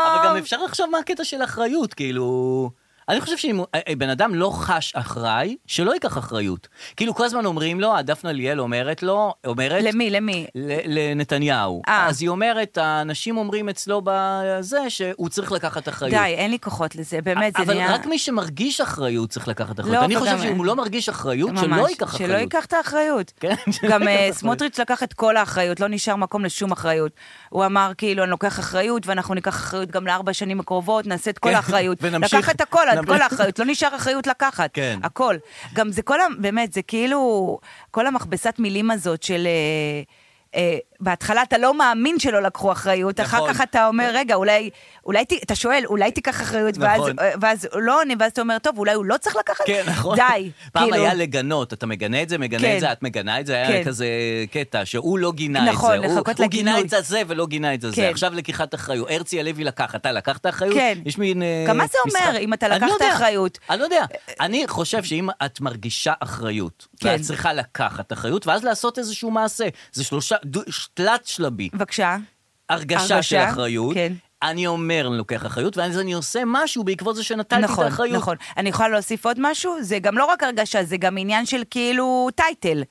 אבל גם אפשר לחשוב מה הקטע של אחריות, כאילו... אני חושב שאם אה, אה, בן אדם לא חש אחראי, שלא ייקח אחריות. כאילו, כל הזמן אומרים לו, דפנה ליאל אומרת לו, אומרת... למי, למי? ל- לנתניהו. אה. אז היא אומרת, האנשים אומרים אצלו בזה שהוא צריך לקחת אחריות. די, אין לי כוחות לזה, באמת, זה לא, אבל נהיה... רק מי שמרגיש אחריות צריך לקחת אחריות. לא, אני אבל חושב גם- שאם הוא לא מרגיש אחריות, ממש, שלא ייקח אחריות. שלא ייקח את האחריות. כן, שלא גם אה, ייקח אחריות. סמוטריץ' לקח את כל האחריות, לא נשאר מקום לשום אחריות. הוא אמר, כאילו, אני לוקח אחריות, ואנחנו ניקח אחריות גם לארבע שנים הקרובות, נעשה את כל כן, האחריות. ונמשיך. לקח את הכל, את נמשיך. כל האחריות, לא נשאר אחריות לקחת. כן. הכל. גם זה כל, ה- באמת, זה כאילו, כל המכבסת מילים הזאת של... אה, אה, בהתחלה אתה לא מאמין שלא לקחו אחריות, נכון. אחר כך אתה אומר, רגע, אולי, אולי, ת- אתה שואל, אולי תיקח אחריות, ואז- נכון. אה, ואז הוא לא עונה, ואז אתה אומר, טוב, אולי הוא לא צריך לקחת? כן, נכון. די. פעם כאילו, היה לגנות, אתה מגנה את זה, מגנה כן. את זה, את מגנה את זה, היה כן. כזה קטע, שהוא לא גינה נכון, את זה. הוא- לחכות הוא לגינוי. גינה את הזה ולא גינה את זה. כן. עכשיו לקיחת אחריות. הרצי הלוי לקח, אתה לקחת אחריות? כן. יש מין אה, גם מה זה אומר משחק. אם אתה אני לא לקחת יודע. אחריות? אה, אני לא יודע. אני חושב שאם את מרגישה אחריות, כן. ואת צריכה לקחת אחריות, ואז לעשות איזשהו מעשה. זה שלושה, דו- תלת שלבי. בבקשה. הרגשה הרגשה, של אחריות. כן. אני אומר, אני לוקח אחריות, ואז אני עושה משהו בעקבות זה שנטלתי נכון, את האחריות. נכון. אני יכולה להוסיף עוד משהו? זה גם לא רק הרגשה, זה גם עניין של כאילו טייטל.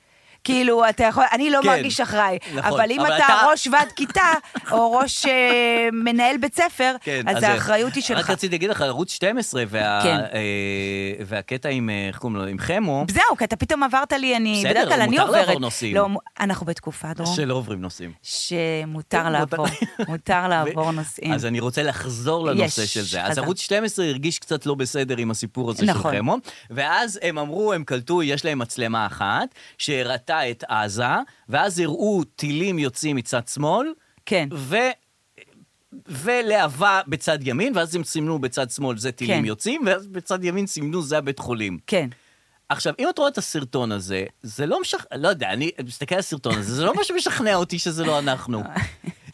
כאילו, אתה יכול, אני לא כן, מרגיש אחראי, נכון, אבל אם אבל אתה אתה- ראש ועד כיתה, או ראש אה, מנהל בית ספר, אז אה, האחריות היא רק שלך. רציתי להגיד לך, ערוץ 12 וה, כן. אה, והקטע עם, אה, איך קוראים לו, עם חמו, זהו, כי אתה פתאום עברת לי, אני, בסדר, בדרך כלל אני מותר עוברת. לעבור נושאים. לא, מ- אנחנו בתקופה, דרום, שלא עוברים נושאים. שמותר כן, מותר- לעבור, מותר לעבור ו- נושאים. אז אני רוצה לחזור לנושא יש, של זה. אז חזק. ערוץ 12 הרגיש קצת לא בסדר עם הסיפור הזה של נכון. חמו, ואז הם אמרו, הם קלטו, יש להם מצלמה אחת, שהראתה את עזה, ואז הראו טילים יוצאים מצד שמאל, כן. ו... ולהבה בצד ימין, ואז הם סימנו בצד שמאל, זה טילים כן. יוצאים, ואז בצד ימין סימנו, זה הבית חולים. כן. עכשיו, אם את רואה את הסרטון הזה, זה לא משכנע, לא יודע, אני מסתכל על הסרטון הזה, זה לא מה שמשכנע אותי שזה לא אנחנו.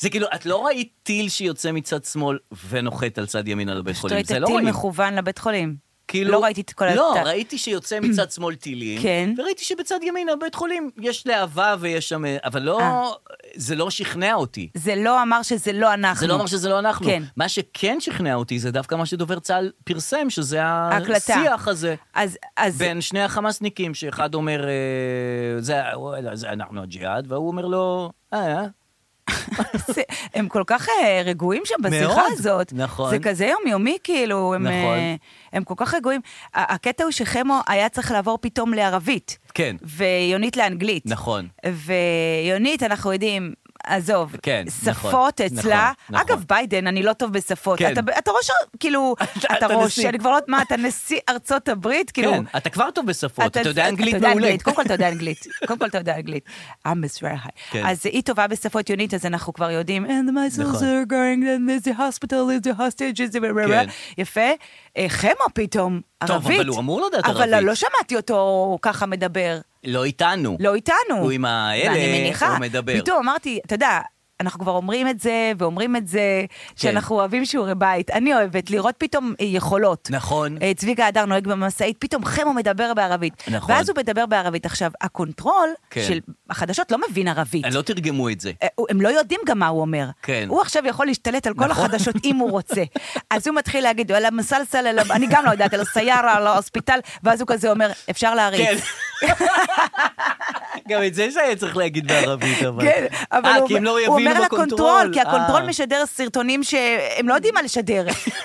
זה כאילו, את לא ראית טיל שיוצא מצד שמאל ונוחת על צד ימין על הבית חולים, ראית זה לא טיל רואים. מכוון לבית חולים. כאילו, לא ראיתי את כל לא, הת- ראיתי שיוצא מצד שמאל טילים, כן. וראיתי שבצד ימין על בית חולים יש להבה ויש שם, אבל לא, אה. זה לא שכנע אותי. זה לא אמר שזה לא אנחנו. זה לא אומר שזה לא אנחנו. כן. מה שכן שכנע אותי זה דווקא מה שדובר צה"ל פרסם, שזה ההקלטה. השיח הזה. אז, אז בין שני החמאסניקים, שאחד אומר, אה, זה, וואלה, זה אנחנו הג'יהאד, והוא אומר לו, אה, אה, זה- הם כל כך אה, רגועים שם בשיחה מאוד, הזאת. נכון. זה כזה יומיומי, כאילו, הם, נכון. אה, הם כל כך רגועים. ה- הקטע הוא שחמו היה צריך לעבור פתאום לערבית. כן. ויונית לאנגלית. נכון. ויונית, אנחנו יודעים... עזוב, כן, נכון, שפות אצלה, נכון, נכון. אגב ביידן, אני לא טוב בשפות, כן. אתה, אתה ראש, כאילו, אתה- אתה אתה, ראש, נשיא. אני כבר לא יודעת מה, אתה נשיא ארצות הברית, כאילו, כן, אתה כבר טוב בשפות, אתה, יודע אנגלית אתה יודע מעולה. אנגלית, קודם כל אתה יודע אנגלית. קודם כל אתה יודע אנגלית. I'm Miss Rehai. כן. אז היא טובה בשפות יונית, אז אנחנו כבר יודעים. And my נכון. sons are going to the hospital, is the hostage, is כן. the... יפה. אה, חמו פתאום, טוב, ערבית. אבל הוא אמור לדעת אבל ערבית. לא שמעתי אותו ככה מדבר. לא איתנו. לא איתנו. הוא עם האלה, ואני מניחה. הוא מדבר. פתאום אמרתי, אתה יודע... אנחנו כבר אומרים את זה, ואומרים את זה, כן. שאנחנו אוהבים שיעורי בית. אני אוהבת לראות פתאום אה, יכולות. נכון. אה, צביקה הדר נוהג במשאית, פתאום חמו מדבר בערבית. נכון. ואז הוא מדבר בערבית. עכשיו, הקונטרול כן. של החדשות לא מבין ערבית. לא תרגמו את זה. אה, הוא- הם לא יודעים גם מה הוא אומר. כן. הוא עכשיו יכול להשתלט על כל נכון. החדשות אם הוא רוצה. אז הוא מתחיל להגיד, אלא מסלסל, אלא- אני גם לא יודעת, אלא סיירה, אלא הוספיטל, ואז הוא כזה אומר, אפשר כן. להריץ. גם את זה שהיה צריך להגיד בערבית, אבל... כן, אבל אה, הוא, כי הם לא הוא יבינו אומר לקונטרול, בקונטרול. כי הקונטרול אה. משדר סרטונים שהם לא יודעים מה לשדר.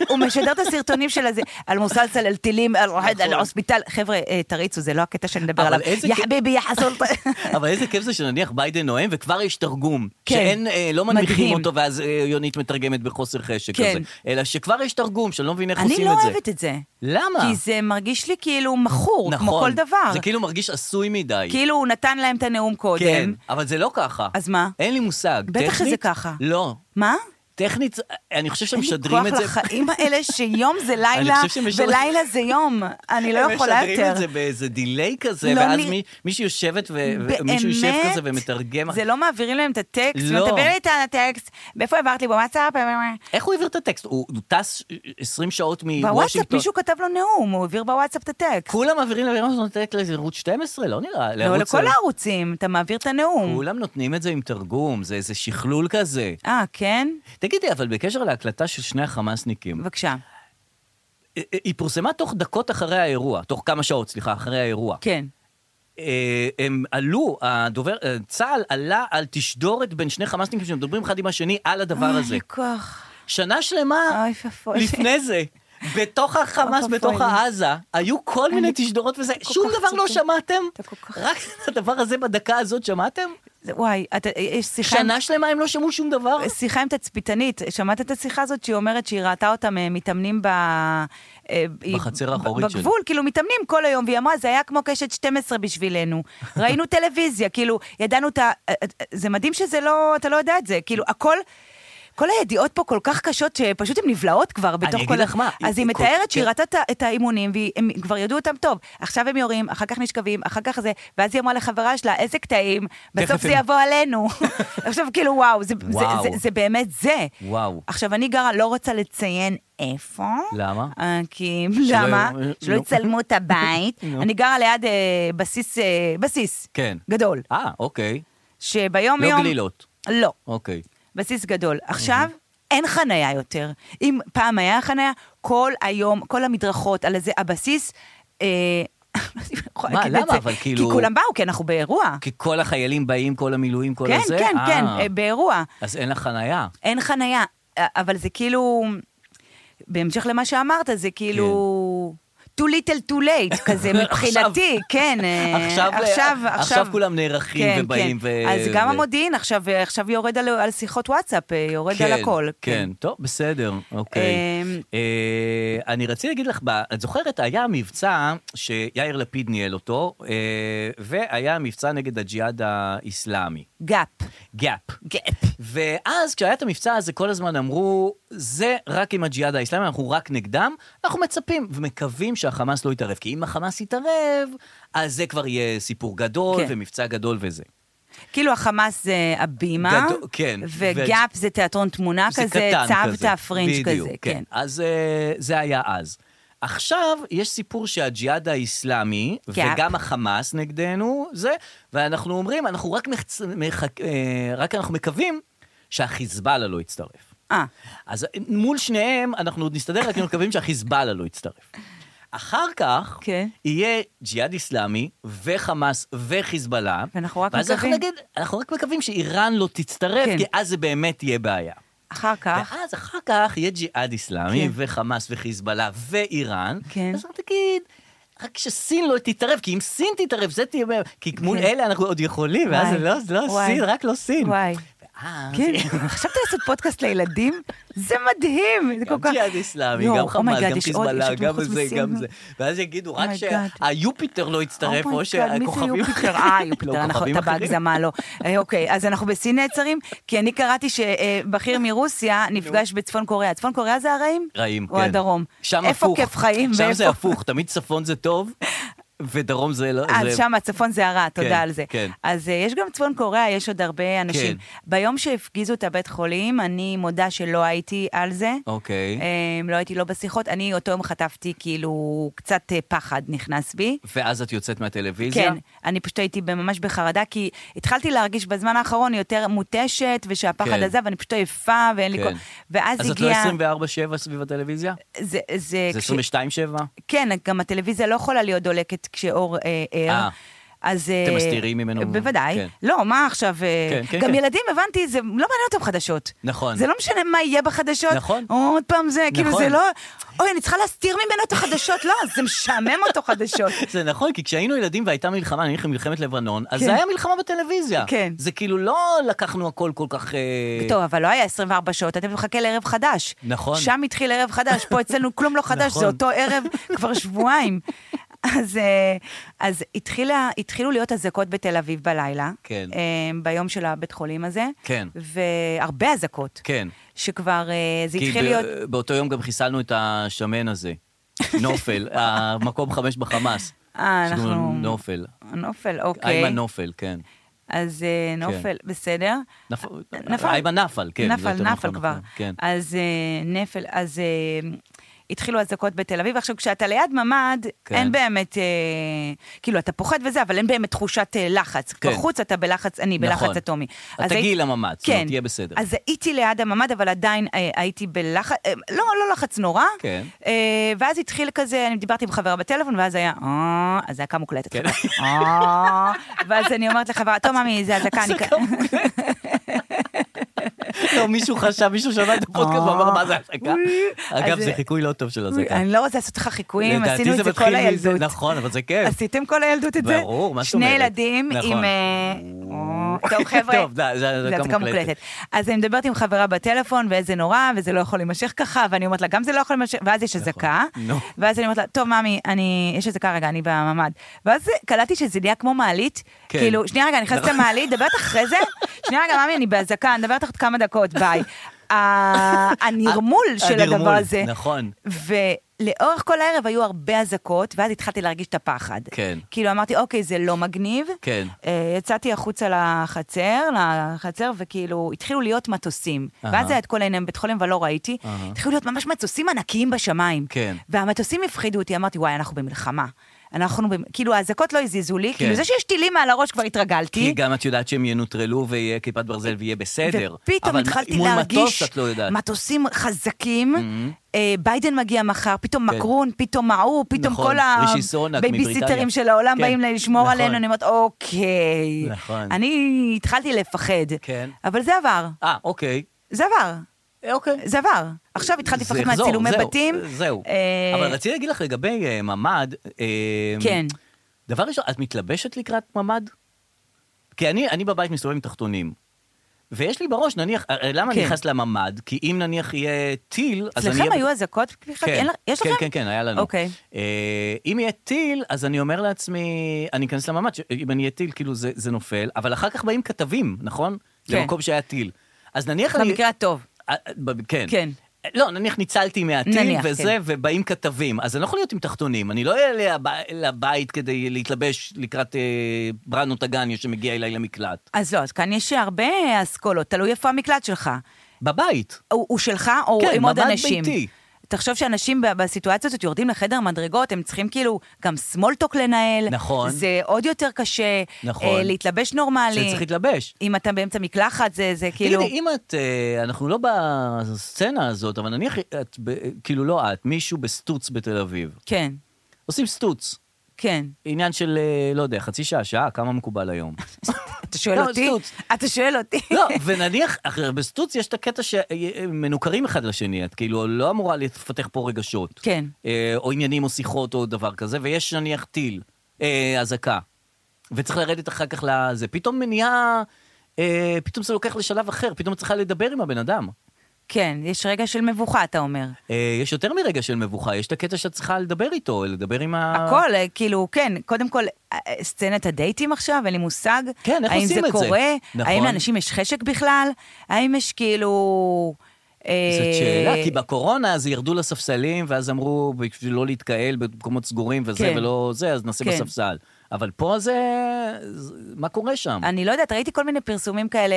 הוא משדר את הסרטונים של הזה, על מוסלסל, על טילים, על רוחד, על הוספיטל. חבר'ה, אה, תריצו, זה לא הקטע שנדבר נכון. אבל עליו. איזה יא כיף- חביבי, יא חסול. אבל איזה כיף זה שנניח ביידן נואם וכבר יש תרגום. כן. שאין, אה, לא מנמיכים מדהים. אותו ואז אה, יונית מתרגמת בחוסר חשק כן. כזה. אלא שכבר יש תרגום, שאני לא מבין איך אני עושים לא את זה. אוהבת את זה. למה? כי זה מרגיש לי כאילו מכור, כמו נכון. כל דבר. זה כאילו מרגיש עשוי מדי. כאילו הוא נתן להם את הנאום קודם. כן, אבל זה לא ככה. אז מה? אין לי מושג. בטח שזה טכנית? ככה. לא. מה? טכנית, אני חושב שהם אין לי משדרים את זה... כוח לחיים האלה שיום זה לילה, חושב שהם משדרים- ולילה זה יום. אני לא הם יכולה משדרים יותר. את זה באיזה דיליי כזה, לא, ואז אני- מי- מישהו יושבת ו... מישהו יושב באמת? כזה ומתרגם. זה לא מעבירים להם את הטקסט? לא. לא. לי את הטקסט, מאיפה העברת לי בוואטסאפ? איך הוא העביר את הטקסט? הוא הוא טס 20 שעות מוושינגטון. בוואטסאפ מישהו כתב לו נאום, הוא העביר בוואטסאפ את הטקסט. כולם מעבירים לערוץ 12, לא נראה. לא, לערוץ- לכל הערוצים, אתה מעביר את הנאום. כולם נותנים את זה עם תרגום, זה איזה שכלול כזה. אה, כן? תגידי, אבל בקשר להקלטה של שני החמאסניקים, בבקשה. אה, אה, היא פורסמה תוך דקות אחרי האירוע, תוך כמה שעות, סליחה, אחרי האירוע. כן. אה, הם עלו, הדובר, אה, צה"ל עלה על תשדורת בין שני חמאסניקים שמדברים אחד עם השני על הדבר הזה. אוי, כוח. שנה שלמה אוי, פפוי. לפני זה, בתוך החמאס, אוי, בתוך אוי. העזה, היו כל מיני תשדורות וזה, שום כך דבר לא צודק. שמעתם? אתה כל כך- רק את הדבר הזה בדקה הזאת שמעתם? זה- וואי, אתה- יש שיחה... עם- שנה שלמה הם לא שמעו שום דבר? שיחה עם תצפיתנית, שמעת את השיחה הזאת שהיא אומרת שהיא ראתה אותם אה, מתאמנים ב... אה, היא- בחצר האחורית ב- בגבול, כאילו מתאמנים כל היום, והיא אמרה, זה היה כמו קשת 12 בשבילנו. ראינו טלוויזיה, כאילו, ידענו את ה... אה, אה, זה מדהים שזה לא... אתה לא יודע את זה, כאילו, הכל... כל הידיעות פה כל כך קשות, שפשוט הן נבלעות כבר בתוך כל... אגיד ה- לך מה, אז היא- היא כל- מתארת שהיא כן. ראתה את ה- את האימונים, והם כבר ידעו אותם טוב. עכשיו הם יורים, אחר כך נשכבים, אחר כך זה, ואז היא אמרה לחברה שלה, איזה קטעים, בסוף תכף זה הם- יבוא עלינו. עכשיו, כאילו, וואו, זה, זה, וואו. זה, זה באמת זה. וואו. עכשיו, אני גרה, לא רוצה לציין איפה. למה? אה, כי, שלא- למה? אה, שלא לא. יצלמו את הבית. אני גרה ליד אה, בסיס, אה, בסיס. כן. גדול. אה, אוקיי. שביום לא יום... גלילות. לא. אוקיי. בסיס גדול. עכשיו, אין חניה יותר. אם פעם היה חניה, כל היום, כל המדרכות על איזה הבסיס, אה, לא יודעת אם אני יכולה מה, להגיד את למה? זה. אבל כי כאילו- כולם באו, כי אנחנו באירוע. כי כל החיילים באים, כל המילואים, כל כן, הזה? כן, אה, כן, אה, באירוע. אז אין לך חנייה. אין חנייה, א- אבל זה כאילו, בהמשך למה שאמרת, זה כאילו... כן. too little too late כזה מבחינתי, כן. אה, עכשיו- עכשיו כולם נערכים כן, ובאים כן. ו- אז גם ו- המודיעין עכשיו אה, עכשיו יורד על- על שיחות וואטסאפ, אה, יורד על הכל. כן, טוב, בסדר, אוקיי. אמ, אה, אני רציתי להגיד לך, ב- את זוכרת, היה מבצע שיאיר לפיד ניהל אותו, אה, והיה מבצע נגד הג'יהאד האיסלאמי, גאפ. גאפ. גאפ. ואז כשהיה את המבצע הזה, כל הזמן אמרו, זה רק עם הג'יהאד האיסלאמי, אנחנו רק נגדם, אנחנו מצפים ומקווים שהחמאס לא יתערב, כי אם החמאס יתערב, אז זה כבר יהיה סיפור גדול כן. ומבצע גדול וזה. כאילו החמאס זה הבימה, גדול, כן. וגאפ זה תיאטרון תמונה זה כזה, קטן צב כזה. תפרינג' בדיוק, כזה, כן. אז אה, זה היה אז. עכשיו יש סיפור שהג'יהאד האיסלאמי, כן. וגם החמאס נגדנו, זה, ואנחנו אומרים, אנחנו רק, מחצ... מחק... אה, רק אנחנו מקווים שהחיזבאללה לא יצטרף. אה, אז מול שניהם אנחנו עוד נסתדר, רק אנחנו מקווים שהחיזבאללה לא יצטרף. אחר כך כן. יהיה ג'יהאד איסלאמי וחמאס וחיזבאללה. ואנחנו רק ואז אנחנו מקווים. נגיד, אנחנו רק מקווים שאיראן לא תצטרף, כן. כי אז זה באמת יהיה בעיה. אחר כך, ואז אחר כך יהיה ג'יהאד איסלאמי, אה? כן. וחמאס וחיזבאללה ואיראן. כן. אז אתה תגיד, רק שסין לא תתערב, כי אם סין תתערב, זה תהיה... בעיה. כי מול כן. אלה אנחנו עוד יכולים, ואז וואי, זה לא, זה לא וואי. סין, רק לא סין. וואי. ואז... כן, חשבת לעשות פודקאסט לילדים? זה מדהים, זה כל גם כך... ג'יהאד איסלאמי, יואו, גם חמאס, אומייגאד, גם יש עוד- יש חיזבאללה, עוד Oh גם מחוץ זה, מסין. Oh גם זה. ואז יגידו רק אומייגאד. שהיופיטר לא יצטרף, או אומייגאד, מי זה שהכוכבים יופיטר? אחרים. אה, לא, יופיטר, אנחנו- כוכבים אתה אחרים. בהגזמה, לא. אה, אוקיי, אז אנחנו בסין נעצרים, כי אני קראתי שבכיר מרוסיה נפגש בצפון קוריאה. צפון קוריאה זה הרעים? רעים, כן. או הדרום. שם איפה הפוך. כיף חיים שם זה ואיפה- הפוך, תמיד צפון זה טוב, ודרום זה לא... אה, זה- שם הצפון זה הרע, כן, תודה על זה. כן. אז אה, יש גם צפון קוריאה, יש עוד הרבה אנשים. ביום שהפגיזו את הבית חולים, אני מודה שלא הייתי על זה. אוקיי. אה, לא הייתי לא בשיחות, אני אותו יום חטפתי כאילו קצת אה, פחד נכנס בי. ואז את יוצאת מהטלוויזיה? כן, אני פשוט הייתי ממש בחרדה, כי התחלתי להרגיש בזמן האחרון יותר מותשת, ושהפחד כן. עזב, אני פשוט עייפה, ואין לי כן. כל... ואז אז את הגיע... לא 24-7 סביב הטלוויזיה? זה, זה, זה כש- 22-7? כן, גם הטלוויזיה לא יכולה להיות דולקת כשאור אה, ער. אה. אז... אה, אתם מסתירים ממנו? בוודאי. כן. לא, מה עכשיו... אה, כן, כן, גם כן. ילדים, הבנתי, זה לא מעניין אותם חדשות. נכון. זה לא משנה מה יהיה בחדשות. נכון. עוד פעם זה, כאילו נכון. זה לא... אוי, אני צריכה להסתיר ממנו את החדשות. לא, זה משעמם אותו חדשות. זה נכון, כי כשהיינו ילדים והייתה מלחמה, אני נכנס למלחמת לבנון, אז כן. זה היה מלחמה בטלוויזיה. כן. זה כאילו לא לקחנו הכל כל כך... אה, טוב, אבל לא היה 24 שעות, אתה מחכה לערב חדש. נכון. שם התחיל ערב חדש, פה אצלנו כלום לא חדש, זה נכון. אותו ערב כבר שבועיים. אז, אה, אז התחילה, התחילו להיות אזעקות בתל אביב בלילה. כן. אה, ביום של הבית חולים הזה. כן. והרבה אזעקות. כן. שכבר, אה, זה כי התחיל ב- להיות... באותו יום גם חיסלנו את השמן הזה. נופל, המקום חמש בחמאס. אה, שקוראים לו אנחנו... נופל. נופל, אוקיי. איימן נופל, כן. אז אה, נופל, בסדר. אה, נפ- נפל. איימן נפל, כן, זה נפל, יותר נפל נכון, כבר. נכון, כן. אז אה, נפל, אז אה, התחילו אזעקות בתל אביב. עכשיו, כשאתה ליד ממ"ד, כן. אין באמת, אה, כאילו, אתה פוחד וזה, אבל אין באמת תחושת אה, לחץ. כן. בחוץ אתה בלחץ, אני נכון. בלחץ אטומי. אז אז תגיעי הייתי- כן. לממ"ד, זאת אומרת, תהיה בסדר. אז הייתי ליד הממ"ד, אבל עדיין אה, הייתי בלחץ, אה, לא, לא לחץ נורא. כן. אה, ואז התחיל כזה, אני דיברתי עם חברה בטלפון, ואז היה, אה, אזעקה מוקלטת. כן. אה, ואז אני אומרת לחברה, טוב, ממי, זה אזעקה, אני... אזעקה לא, מישהו חשב, מישהו שמע את הפודקאסט ואמר, מה זה הצגה? אוי, אגב, אה. אז- זה חיקוי לא טוב של הזקה. אני לא רוצה לעשות לך חיקויים, לדעתי עשינו את זה כל מתחיל מזה- הילדות. נכון, אבל זה כיף. עשיתם כל הילדות את זה? ברור, מה זאת שני אומרת? ילדים נכון. עם... אה, או- טוב, חבר'ה, טוב, די, זה- זה אזעקה גם מוקלטת. אז אני מדברת עם חברה בטלפון, וזה נורא, וזה לא יכול להימשך ככה, ואני אומרת לה, גם זה לא יכול להימשך, ואז יש אזעקה, נכון. נו. ואז אני אומרת לה, טוב, ממי, אני- יש אזעקה רגע, אני בממ"ד. ואז קלטתי שזה נהיה כמו מעלית, כן. כאילו, שנייה רגע, אני נכנסת נכון. למעלית, דברת אחרי זה, שנייה רגע, ממי, אני באזעקה, אני מדברת עוד כמה דקות, ביי. ה- הנרמול של הנרמול, הדבר הזה. נכון. ולאורך כל הערב היו הרבה אזעקות, ואז התחלתי להרגיש את הפחד. כן. כאילו אמרתי, אוקיי, זה לא מגניב. כן. אה, יצאתי החוצה לחצר, לחצר, וכאילו, התחילו להיות מטוסים. אהה. ואז היה את כל העניין בית חולים, אבל לא ראיתי. אהה. התחילו להיות ממש מטוסים ענקיים בשמיים. כן. והמטוסים הפחידו אותי, אמרתי, וואי, אנחנו במלחמה. אנחנו, במ- כאילו, האזעקות לא הזיזו לי, כן. כאילו, זה שיש טילים מעל הראש כבר התרגלתי. כי גם את יודעת שהם ינוטרלו ויהיה כיפת ברזל ויהיה בסדר. ופתאום אבל התחלתי מול להרגיש מטוס את לא יודעת. Mm-hmm. מטוסים חזקים. אה, ביידן מגיע מחר, פתאום כן. מקרון, פתאום ההוא, פתאום נכון, כל רישי סונאק מבריטניה. הבייביסיטרים של העולם כן, באים לשמור נכון. עלינו, אני אומרת, אוקיי. נכון. אני התחלתי לפחד. כן. אבל זה עבר, אה, אוקיי. זה עבר, אה, אוקיי. זה עבר. עכשיו התחלתי זה לפחד יחזור, מהצילומי זהו, בתים. זהו. אה, אבל רציתי להגיד לך לגבי אה, ממ"ד. אה, כן. דבר ראשון, את מתלבשת לקראת ממ"ד? כי אני, אני בבית מסתובב עם תחתונים. ויש לי בראש, נניח, אה, אה, למה כן. אני נכנס לממ"ד? כי אם נניח יהיה טיל, אז אני... אצלכם אהיה- היו אזעקות? בכלל? אין לך- יש כן, לכם? כן, כן, היה לנו. אוקיי. אה, אם יהיה טיל, אז אני אומר לעצמי, אני אכנס לממ"ד, ש- אם אני אהיה טיל, כאילו זה, זה נופל, אבל אחר כך באים כתבים, נכון? כן. למקום שהיה טיל. אז נניח אני... במקרה הטוב. אה, ב- כן. כן. לא, נניח ניצלתי מהטיל נניח, וזה, כן. ובאים כתבים, אז אני לא יכול להיות עם תחתונים, אני לא אהיה לב- לבית כדי להתלבש לקראת אה, בראנו טגניה שמגיע אליי למקלט. אז לא, אז כאן יש הרבה אסכולות, תלוי איפה המקלט שלך. בבית. הוא, הוא שלך או כן, עם עוד ממ"ד אנשים? ביתי. תחשוב שאנשים ב- בסיטואציה הזאת יורדים לחדר מדרגות, הם צריכים כאילו גם סמולטוק לנהל. נכון. זה עוד יותר קשה. נכון. אה, להתלבש נורמלי. זה צריך להתלבש. אם אתה באמצע מקלחת, זה, זה כאילו... כאילו... תגידי, אם את, אה, אנחנו לא בסצנה הזאת, אבל נניח את, ב- כאילו לא את, מישהו בסטוץ בתל אביב. כן, עושים סטוץ. כן. עניין של, אה, לא יודע, חצי שעה, שעה, כמה מקובל היום. אתה שואל לא, אותי? סטוץ. אתה שואל אותי? לא, ונניח, אחרי- בסטוץ יש את הקטע שמנוכרים אחד לשני, את כאילו לא אמורה לפתח פה רגשות. כן. אה, או עניינים או שיחות או דבר כזה, ויש נניח טיל, אה, אזעקה, וצריך לרדת אחר כך לזה. פתאום נהיה, אה, פתאום זה לוקח לשלב אחר, פתאום את צריכה לדבר עם הבן אדם. כן, יש רגע של מבוכה, אתה אומר. אה, יש יותר מרגע של מבוכה, יש את הקטע שאת צריכה לדבר איתו, לדבר עם ה... הכל, אה, כאילו, כן, קודם כל, אה, אה, סצנת הדייטים עכשיו, אין לי מושג. כן, איך עושים את האם זה? זה קורה? נכון. האם לאנשים יש חשק בכלל? האם יש כאילו... זאת אה, שאלה, כי בקורונה אז ירדו לספסלים, ואז אמרו, בשביל לא להתקהל במקומות סגורים וזה כן. ולא זה, אז נעשה כן. בספסל. אבל פה זה... זה- מה קורה שם? אני לא יודעת, ראיתי כל מיני פרסומים כאלה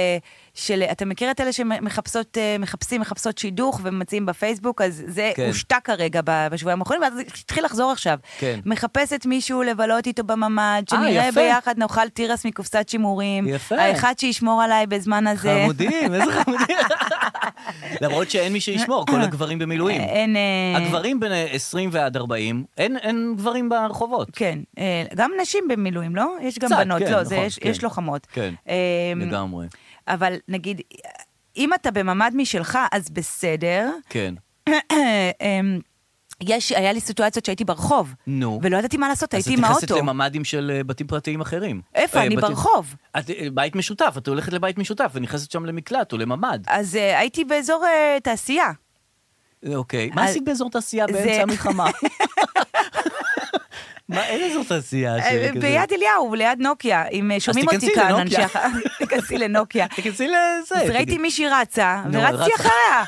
של... אתה מכיר את אלה שמחפשות, אה, מחפשים, מחפשות שידוך ומציעים בפייסבוק? אז זה כן. הושתק כרגע ב- בשבועיים האחרונים, ואז זה התחיל לחזור עכשיו. כן. מחפשת מישהו לבלות איתו בממ"ד, אה, שנראה יפה. ביחד, נאכל תירס מקופסת שימורים. יפה. האחד שישמור עליי בזמן הזה. חמודים, איזה חמודים. למרות שאין מי שישמור, כל הגברים במילואים. אין... אה, הגברים בין 20 ועד 40, אין- אין גברים ברחובות. כן, אה, גם נשים במילואים, לא? יש גם קצת, בנות, כן, לא, זה נכון, יש- כן. יש לוחמות. כן, אה, לגמרי. אבל נגיד, אם אתה בממ"ד משלך, אז בסדר. כן. אמ, יש, היה לי סיטואציות שהייתי ברחוב, נו. ולא ידעתי מה לעשות, הייתי אז עם את האוטו. נכנסת לממ"דים של אה, בתים פרטיים אחרים. איפה? אה, אני בתים- ברחוב. את אה, בית משותף, את הולכת לבית משותף ונכנסת שם למקלט או לממ"ד. אז אה, הייתי באזור אה, תעשייה. אה, אוקיי. מה אז- עשית באזור תעשייה זה- באמצע המלחמה? מה, אין אזור תעשייה שכזה? אה, ביד אליהו, ליד נוקיה, אם אה, שומעים אותי תיכנסי כאן, לנוקיה. אנשי הח... תיכנסי לנוקיה. תיכנסי לזה. אז תגיד. ראיתי מישהי רצה, נו, ורצתי רצה. אחריה.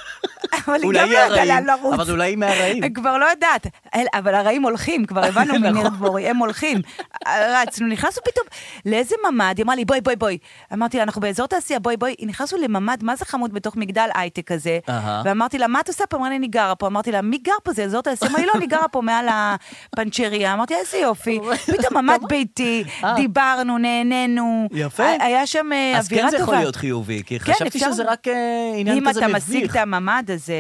אבל היא גם אולי לא יודעת לאן הרעים, לרוץ. אבל אולי היא מהרעים. כבר לא יודעת. אל- אבל הרעים הולכים, כבר הבנו נכון. מניר דבורי, הם הולכים. רצנו, נכנסנו פתאום לאיזה ממ"ד, היא אמרה לי, בואי, בואי, בואי. אמרתי לה, אנחנו באזור תעשייה, בואי, בואי. נכנסנו לממ"ד, מה זה חמוד בתוך מגדל הייטק כזה? אהה. ואמרתי לה, מה את עושה פה? אמרה לי, אני גרה פה. אמרתי לה, מי גר פה? זה אזור תעשייה? אמרה לי, לא, אני גרה פה מעל הפנצ'ריה. אמרתי, איזה יופי. פתאום ממ"ד ביתי, דיברנו, נהנינו. אה. יפה. היה שם אה, אווירה טובה. אז כן זה יכול להיות חיובי, כי כן, חשבתי אפשר. שזה רק אה, עניין כזה אם אתה משיג מביך. את הממ"ד, אז, אה,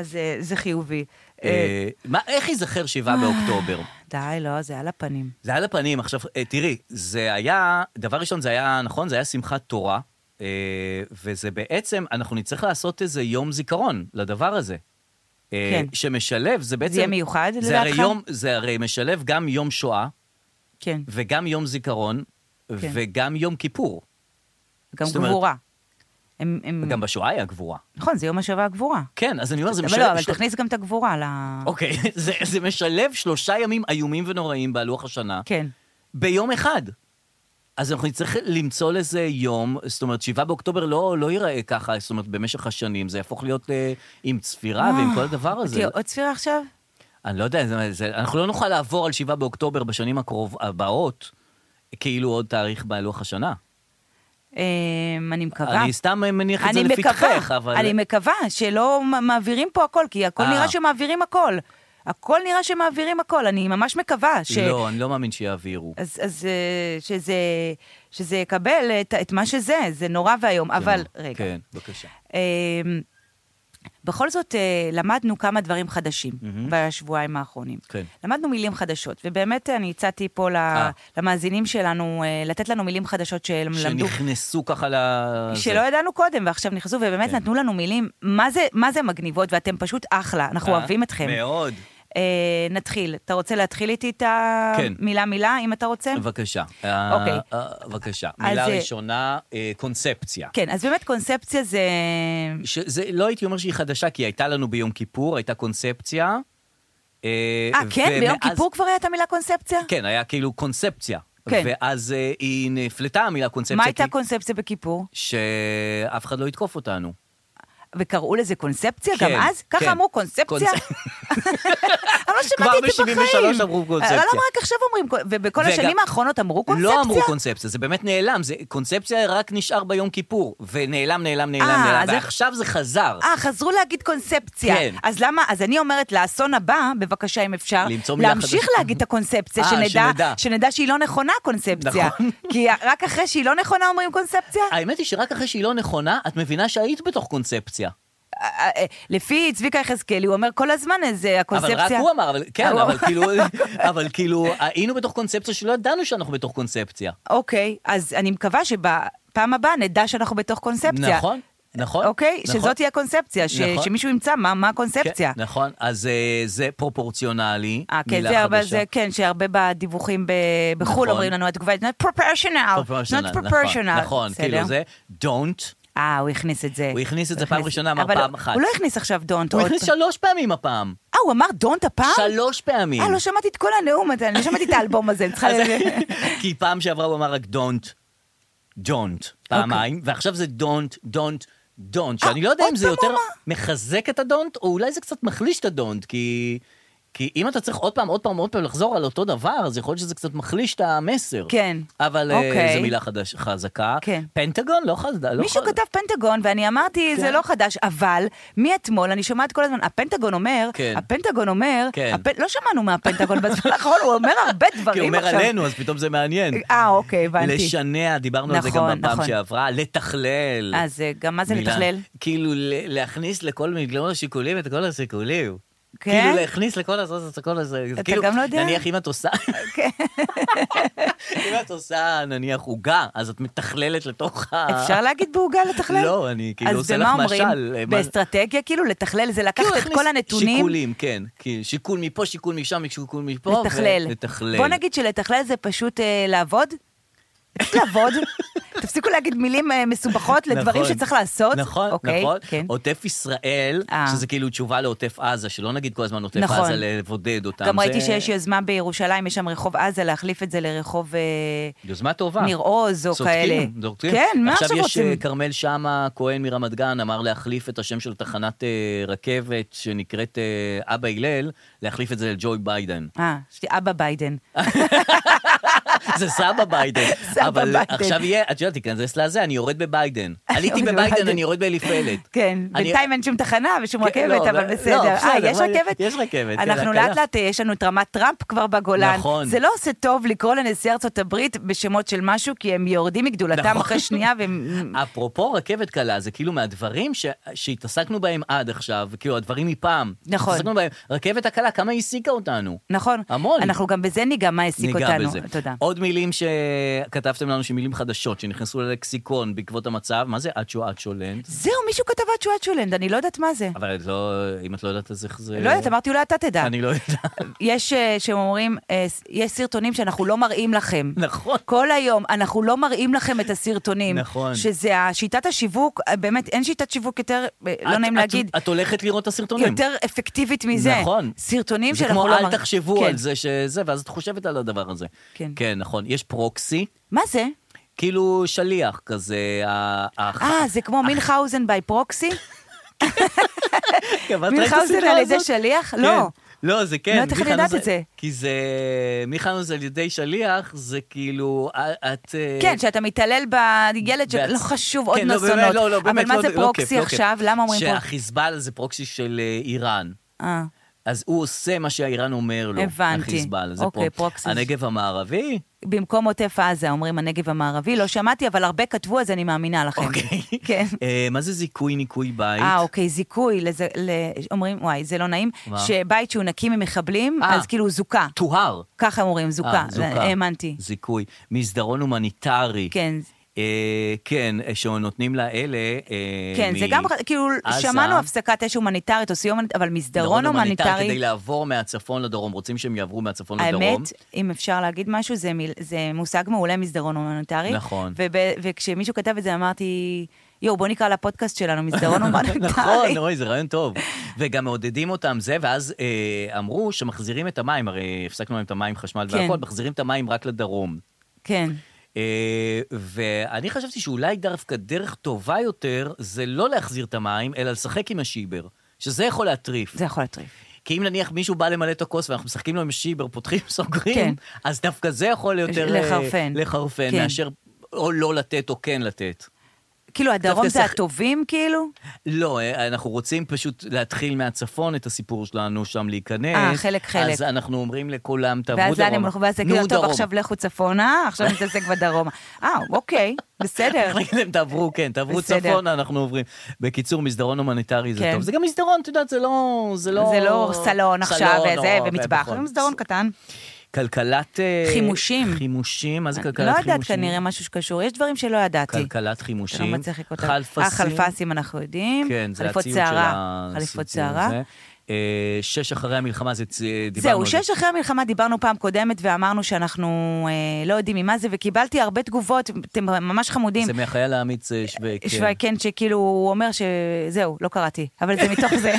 אז אה, זה חיובי. אה, אה, מה, איך ייזכר שבעה באוקטובר? די, לא, זה על הפנים. זה על הפנים. עכשיו, אה, תראי, זה היה, דבר ראשון, זה היה, נכון, זה היה שמחת תורה, אה, וזה בעצם, אנחנו נצטרך לעשות איזה יום זיכרון לדבר הזה. אה, כן. שמשלב, זה בעצם... יהיה מיוחד, זה לדעתך? הרי יום, זה הרי משלב גם יום שואה, כן, וגם יום זיכרון, כן. Mm. וגם יום כיפור. גם זאת אומרת- גבורה. הם, הם... גם בשואה היה גבורה. נכון, זה יום השבה הגבורה. כן, אז אני אומר, זה אבל משלב... לא, אבל של- תכניס גם את הגבורה ל... אוקיי, זה, זה משלב שלושה ימים איומים ונוראים בלוח השנה, כן. ביום אחד. אז אנחנו נצטרך למצוא לזה יום, זאת אומרת, 7 באוקטובר לא, לא ייראה ככה, זאת אומרת, במשך השנים, זה יהפוך להיות אה, עם צפירה ועם כל הדבר הזה. תהיה אה, עוד ספירה עכשיו? אני לא יודע, זה, זה, אנחנו לא נוכל לעבור על 7 באוקטובר בשנים הקרוב, הבאות, כאילו עוד תאריך בלוח השנה. אה, אני מקווה. אני סתם מניח את זה אני מקווה, לפתחך, אבל... אני מקווה שלא מ- מעבירים פה הכל, כי הכל אה. נראה שמעבירים הכל. הכל נראה שמעבירים הכל, אני ממש מקווה ש... לא, אני לא מאמין שיעבירו. אז, אז אה, שזה, שזה יקבל את, את מה שזה, זה נורא ואיום. אבל, רגע, כן, בבקשה. אה, בכל זאת אה, למדנו כמה דברים חדשים בשבועיים האחרונים. כן. למדנו מילים חדשות, ובאמת אה, אני הצעתי פה ל, אה. למאזינים שלנו אה, לתת לנו מילים חדשות שהם למדו. שנכנסו ככה ל... זה. שלא ידענו קודם, ועכשיו נכנסו, ובאמת כן. נתנו לנו מילים, מה זה, מה זה מגניבות, ואתם פשוט אחלה, אנחנו אה, אוהבים אתכם. מאוד. אה, נתחיל. אתה רוצה להתחיל איתי את כן. המילה-מילה, אם אתה רוצה? בבקשה. אה, אוקיי. אה, בבקשה. מילה אז, אה, ראשונה, אה, קונספציה. כן, אז באמת קונספציה זה... שזה, לא הייתי אומר שהיא חדשה, כי הייתה לנו ביום כיפור, הייתה קונספציה. אה, אה, כן? ביום ומאז- כיפור כבר הייתה מילה קונספציה? כן, היה כאילו קונספציה. כן. ואז אה, היא נפלטה המילה קונספציה. מה הייתה כי- קונספציה בכיפור? שאף אחד לא יתקוף אותנו. וקראו לזה קונספציה כן, גם אז? כן. ככה אמרו קונספציה? קונצ- אני לא שמעתי את זה בחיים. כבר ב-73 אמרו קונספציה. אבל למה רק עכשיו אומרים, קונ- ובכל וגם- השנים האחרונות אמרו קונספציה? לא אמרו קונספציה, זה באמת נעלם. זה, קונספציה רק נשאר ביום כיפור, ונעלם, נעלם, נעלם, אה, נעלם, אז איך- ועכשיו זה חזר. אה, חזרו להגיד קונספציה. כן. אז למה, אז אני אומרת לאסון הבא, בבקשה, אם אפשר, למצוא מילה להמשיך חדשה. להגיד את הקונספציה, אה, שנדע. שנדע, שנדע שהיא לא נכונה קונספציה. נכון. כי רק אחרי שהיא לא נכונה אומרים קונספציה? האמת היא שרק אחרי שהיא לא נכונה, את מבינה שהיית בתוך קונספציה. אה, אה, לפי צביקה יחזקאלי, הוא אומר כל הזמן איזה אבל הקונספציה. רק הוא אמר, אבל כן, אה, אבל הוא- כאילו, אבל כאילו, היינו בתוך קונספציה שלא ידענו שאנחנו בתוך קונספציה. אוקיי, אז אני מקווה שבפעם הבאה נדע שאנחנו בתוך קונספציה. נכון, נכון. אוקיי? נכון. שזאת תהיה הקונספציה, ש- נכון. שמישהו ימצא מה מה הקונספציה. כן, נכון, אז אה, זה פרופורציונלי, אה, כן, מילה זה הרבה, חדשה. זה, כן, שהרבה בדיווחים ב- בחו"ל נכון. אומרים לנו, התגובה היא not proportional, Proportional, אה, not נכון, proportional. נכון, בסדר? כאילו זה don't, אה, הוא הכניס את זה. הוא הכניס את זה פעם ראשונה, אמר אבל פעם אחת. הוא לא הכניס עכשיו דונט. הוא עוד הכניס פעם. שלוש פעמים הפעם. אה, הוא אמר דונט הפעם? שלוש פעמים. אה, לא שמעתי את כל הנאום, הזה, אני לא שמעתי את האלבום הזה, אני צריכה... אז- לזה. כי פעם שעברה הוא אמר רק don't, don't, פעמיים, ועכשיו זה don't, don't, don't, שאני לא יודע אוקיי. אה, עוד אם זה פעם הוא יותר מחזק את הדונט, או אולי זה קצת מחליש את הדונט, כי... כי אם אתה צריך עוד פעם, עוד פעם, עוד פעם לחזור על אותו דבר, אז יכול להיות שזה קצת מחליש את המסר. כן. אבל אה, אוקיי. זו מילה חדש, חזקה. כן. פנטגון לא חזקה. לא מישהו חז- כתב פנטגון, ואני אמרתי, זה כן. לא חדש, אבל מאתמול אני שומעת כל הזמן, הפנטגון אומר, כן. הפנטגון אומר, כן. הפ- לא שמענו מהפנטגון בזמן האחרון, הוא אומר הרבה דברים עכשיו. כי הוא אומר עלינו, אז פתאום זה מעניין. אה, אוקיי, הבנתי. לשנע, דיברנו על זה נכון, גם בפעם נכון. שעברה, לתכלל. אז אה, גם מה זה מילה- לתכלל? כאילו ל- להכניס לכל מיליון השיקולים את כל השיקולים. כן? כאילו להכניס לכל הזאת את כל הזה. אתה כאילו, גם לא יודע? נניח אם את עושה... כן. אם את עושה, נניח, עוגה, אז את מתכללת לתוך ה... אפשר להגיד בעוגה לתכלל? לא, אני כאילו אז עושה במה לך אומרים? משל, אה, מה- באסטרטגיה, כאילו, לתכלל זה לקחת כאילו את להכניס כל הנתונים. שיקולים, כן. כי שיקול מפה, שיקול משם, שיקול מפה. ו- לתכלל. לא, לתכלל. בוא נגיד שלתכלל זה פשוט אה, לעבוד. לעבוד. תפסיקו להגיד מילים אה, מסובכות לדברים נכון, שצריך לעשות. נכון, אוקיי, נכון. כן. עוטף ישראל, אה. שזה כאילו תשובה לעוטף עזה, שלא נגיד כל הזמן עוטף נכון. עזה, לבודד אותם. גם זה- ראיתי שיש יוזמה בירושלים, יש שם רחוב עזה, להחליף את זה לרחוב... אה, יוזמה טובה. ניר עוז או כאלה. צודקים, צודקים. כן, מה עכשיו עכשיו יש רוצים? אה, כרמל שאמה, כהן מרמת גן, אמר להחליף את השם של תחנת אה, רכבת שנקראת אה, אבא הלל, להחליף את זה לג'וי ביידן. אה, יש לי אבא ביידן. זה סבא ביידן. סבא אבל ביידן. עכשיו יהיה, את יודעת, תיכנס לזה, אני יורד בביידן. עליתי יורד בביידן, בביידן. אני יורד באליפלת. כן, אני- בינתיים אין שום תחנה ושום כן, רכבת, לא, אבל לא, בסדר. אה, בסדר, יש אבל רכבת? יש רכבת, כן, אנחנו הקלה. לאט לאט, אה, יש לנו את רמת טראמפ כבר בגולן. נכון. זה לא עושה טוב לקרוא לנשיא ארצות הברית בשמות של משהו, כי הם יורדים מגדולתם נכון. אחרי שנייה, והם... אפרופו רכבת קלה, זה כאילו מהדברים ש... שהתעסקנו בהם עד עכשיו, כאילו הדברים מפעם. נכון. התעסקנו בהם. רכבת הקלה, כמה היא העסיקה אותנו? נכון. המון. אנחנו גם בזה ניגע מה העסיק ניגע אותנו. בזה. תודה. עוד מילים שכתבתם לנו, שמילים חדשות, שנכנסו ללקסיקון בעקבות המצב, מה זה אצ'ו אצ'ו לנד? זהו, מישהו כתב אצ'ואצ'ולנד, אני לא יודעת מה זה. אבל את לא, אם את לא יודעת אז איך זה... לא יודעת, אמרתי, אולי אתה תדע. אני לא יודעת. יש, אה, שהם אומרים, אה, יש סרטונים שאנחנו לא מראים לכם. נכון. כל היום, אנחנו לא מראים לכם את הסרטונים. נכון. שזה השיטת השיווק, אה, באמת, אין שיטת שיווק יותר, אה, לא את- נעים את- להגיד, את הולכת לראות את הסרטונים. יותר אפקטיבית מזה. נכון. סרטונים זה שאנחנו כמו לא מראים. אל תחשבו כן. על זה שזה, ואז את חושבת על הדבר הזה. כן. כן, נכון. יש פרוקסי, מה זה? כאילו שליח כזה. ה- ה- אה, זה כמו מינכהאוזן בי פרוקסי? כן, ואת ראית את מינכהאוזן הסדרה על ידי הזאת? שליח? כן. לא. לא, זה כן. לא יודעת איך אני מיכאל יודעת זה- את זה. כי זה... מיכאנוס על ידי שליח, זה כאילו, אה, את... אה, כן, שאתה מתעלל בילד של... בעצ- לא חשוב, עוד כן, לא, באמת, נסונות. לא, לא, אבל באמת, מה לא- זה לא כיף, פרוקסי לא כיף. עכשיו? למה אומרים פרוקסי? שהחיזבאללה זה פרוקסי של אה, איראן. אה, אז הוא עושה מה שהאיראן אומר לו. הבנתי. החיזבאללה, זה אוקיי, פרוק- פרוקסי. הנגב המערבי? במקום עוטף עזה, אומרים הנגב המערבי, לא שמעתי, אבל הרבה כתבו, אז אני מאמינה לכם. אוקיי. כן. אה, מה זה זיכוי ניקוי בית? אה, אוקיי, זיכוי, לז... ל... אומרים, וואי, זה לא נעים, מה? שבית שהוא נקי ממחבלים, אה. אז כאילו הוא זוכה. טוהר. ככה אומרים, זוכה. אה, זה- האמנתי. זיכוי. מסדרון הומניטרי. כן. אה, כן, אה, שנותנים לאלה... אה, כן, מ- זה גם, כאילו, עזה. שמענו הפסקת אש הומניטרית או סיום, הומניט- אבל מסדרון מסדרון הומניטרי, כדי לעבור מהצפון לדרום, רוצים שהם יעברו מהצפון לדרום. האמת, אם אפשר להגיד משהו, זה, מיל, זה מושג מעולה מסדרון הומניטרי. נכון. וב, וכשמישהו כתב את זה אמרתי, יואו, בוא נקרא לפודקאסט שלנו מסדרון הומניטרי. נכון, אוי, זה רעיון טוב. וגם מעודדים אותם זה, ואז אה, אמרו שמחזירים את המים, הרי הפסקנו להם את המים, חשמל כן. והכול, מחזירים את המים רק לדרום. כן. אה, ואני חשבתי שאולי דווקא דרך טובה יותר זה לא להחזיר את המים, אלא לשחק עם השיבר, שזה יכול להטריף. זה יכול להטריף. כי אם נניח מישהו בא למלא את הכוס ואנחנו משחקים לו עם שיבר, פותחים, סוגרים, כן. אז דווקא זה יכול יותר... אה, לחרפן. לחרפן, כן. מאשר או לא לתת או כן לתת. כאילו, הדרום דווקא זה שח- הטובים, כאילו? לא, אה, אנחנו רוצים פשוט להתחיל מהצפון את הסיפור שלנו שם להיכנס. אה, חלק, חלק. אז אנחנו אומרים לכולם, תעברו דרום. ואז לאן הם הולכו, ואז נו, תגידו, טוב, דרום." עכשיו לכו צפונה, עכשיו נתעסק בדרומה. אה, אוקיי, בסדר. צריך להגיד להם, תעברו, כן, תעברו בסדר. צפונה, אנחנו עוברים. בקיצור, מסדרון הומניטרי זה כן. טוב. זה גם מסדרון, את יודעת, זה לא... זה לא, זה לא סלון עכשיו, סלון וזה, או- ומטבח, נכון. זה מסדרון קטן. כלכלת... אה, חימושים. חימושים, מה זה כלכלת לא חימושים? יודעת כנראה משהו שקשור, יש דברים שלא ידעתי. כלכלת אתה לא חימושים. מצליח לקרוא אותם. חלפסים. אה, חלפסים אנחנו יודעים. כן, זה חליפות הציוד של שערה. ה- חליפות הציוד שערה. הזה. אה, שש אחרי המלחמה, זה צ- דיברנו זהו, על זה. שש אחרי המלחמה דיברנו פעם קודמת ואמרנו שאנחנו אה, לא יודעים ממה זה, וקיבלתי הרבה תגובות, אתם ממש חמודים. זה מהחייל האמיץ אה, שווה... כן. שווייקן שכאילו הוא אומר שזהו, לא קראתי, אבל זה מתוך זה.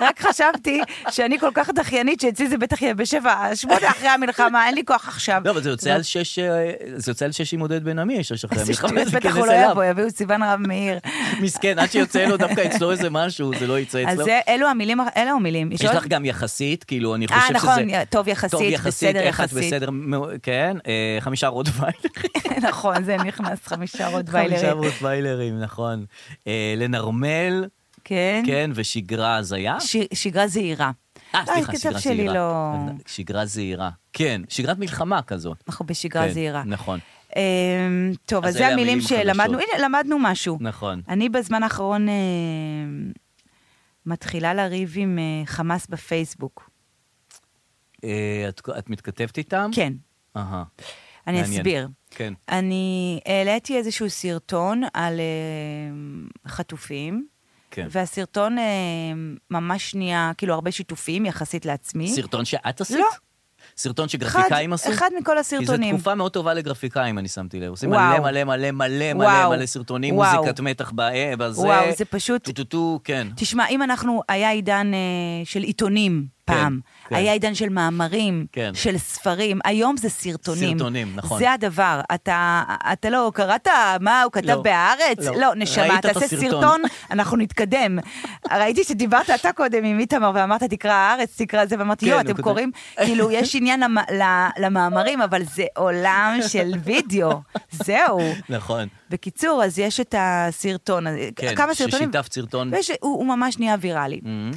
רק חשבתי שאני כל כך דחיינית שאצלי זה בטח יהיה בשבע, שמונה אחרי המלחמה, אין לי כוח עכשיו. לא, אבל זה יוצא על שש, אה, זה יוצא על שש עם עודד בן עמי, שש אחרי איזה המלחמה, שטויות, זה בטח הוא ייכנס לא אליו. יבוא, יביאו סיוון רב מאיר. מסכן, עד שיוצא לו דווקא אצלו איזה משהו, זה לא יצא אז אצלו. זה- אלו המילים, אלו המילים. יש עוד? לך גם יחסית, כאילו, אני אה, חושב שזה... נכון, טוב יחסית, טוב יחסית, בסדר איך את יחסית. בסדר, מ- כן, אה, חמישה רוטוויילרים. נכון, זה נכנס חמישה חמישה רוטוויילרים. רוטוויילרים, נכון. אה, לנרמל, כן. כן, ושגרה הזיה. ש- שגרה זהירה. אה, לא, סליחה, הקצב שגרה שלי זהירה. אה, לא- שגרה זהירה. כן, שגרת מלחמה כזאת. אנחנו בשגרה כן, זהירה. נכון. אמ, טוב, אז אז זה אלה המילים המילים שלמדנו. החדשות. הנה, למדנו משהו. נכון. אני בזמן האחרון אמ, מתחילה לריב עם אה, חמאס בפייסבוק. Mm-hmm. אה, את- את מתכתבת איתם? כן, אהה, אני מעניין. אסביר. כן. אני העליתי איזשהו סרטון על אמ, חטופים. כן. והסרטון אה, ממש נהיה, כאילו, הרבה שיתופים יחסית לעצמי. סרטון שאת עשית? לא. סרטון אחד, שגרפיקאים עשו? אחד מכל כי הסרטונים. זו תקופה מאוד טובה לגרפיקאים, אני שמתי לב. עושים מלא וואו. מלא מלא מלא מלא וואו. מלא סרטונים, וואו. מוזיקת מתח ב- בזה. וואו, זה פשוט- טו-טו-טו, כן. תשמע, אם אנחנו, היה עידן אה, של עיתונים פעם, כן. היה עידן של מאמרים, כן. של ספרים, היום זה סרטונים. סרטונים, נכון. זה הדבר. אתה, אתה לא קראת מה הוא כתב לא, בהארץ? לא. לא, נשמה, ראית את תעשה הסרטון. סרטון, אנחנו נתקדם. ראיתי שדיברת אתה קודם עם איתמר ואמרת, תקרא הארץ, תקרא זה, ואמרתי, כן, יואו, הוא אתם כותב." קוראים, כאילו, יש עניין למ- ל- למאמרים, אבל זה עולם של וידאו. זהו. נכון. בקיצור, אז יש את הסרטון, הזה. כן, כמה סרטונים. ששיתף סרטון. ויש, הוא, הוא ממש נהיה ויראלי. Mm-hmm.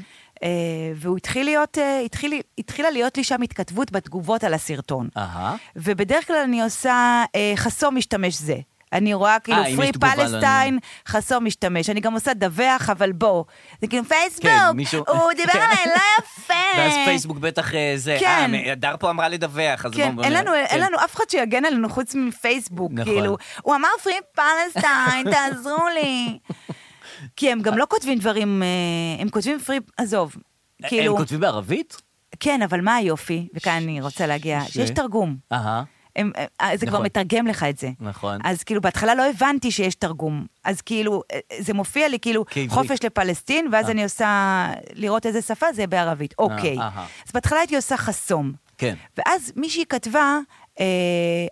והוא התחיל להיות, אה, התחיל, לי- התחילה להיות לי שם התכתבות בתגובות על הסרטון. אהה. ובדרך כלל אני עושה אה, חסום משתמש זה. אני רואה כאילו אה, אם יש פרי תגובה לא, פלסטיין, חסום משתמש. אני גם עושה דווח, אבל בוא. זה כאילו פייסבוק, כן, מישהו- הוא דיבר כן. עליי לא יפה. ואז פייסבוק בטח אה, זה, כן. אה, מ- הדר פה אמרה לדווח, אז כן, בואו- אין לנו, אין כן. לנו אף אחד שיגן עלינו חוץ מפייסבוק, נכון. כאילו. הוא אמר פרי פלסטיין, תעזרו לי. כי הם גם לא כותבים דברים, אה, הם כותבים פרי, עזוב. כאילו, אה, הם כותבים בערבית? כן, אבל מה היופי, וכאן אני רוצה להגיע, ש- שיש תרגום. אהה. הם, אה, זה כבר נכון. מתרגם לך את זה. נכון. אז כאילו, בהתחלה לא הבנתי שיש תרגום. אז כאילו, אה, זה מופיע לי כאילו כעברית. חופש לפלסטין, ואז אה. אני עושה, לראות איזה שפה זה בערבית. אוקיי. אהה. אז בהתחלה הייתי עושה חסום. כן. ואז מישהי כתבה,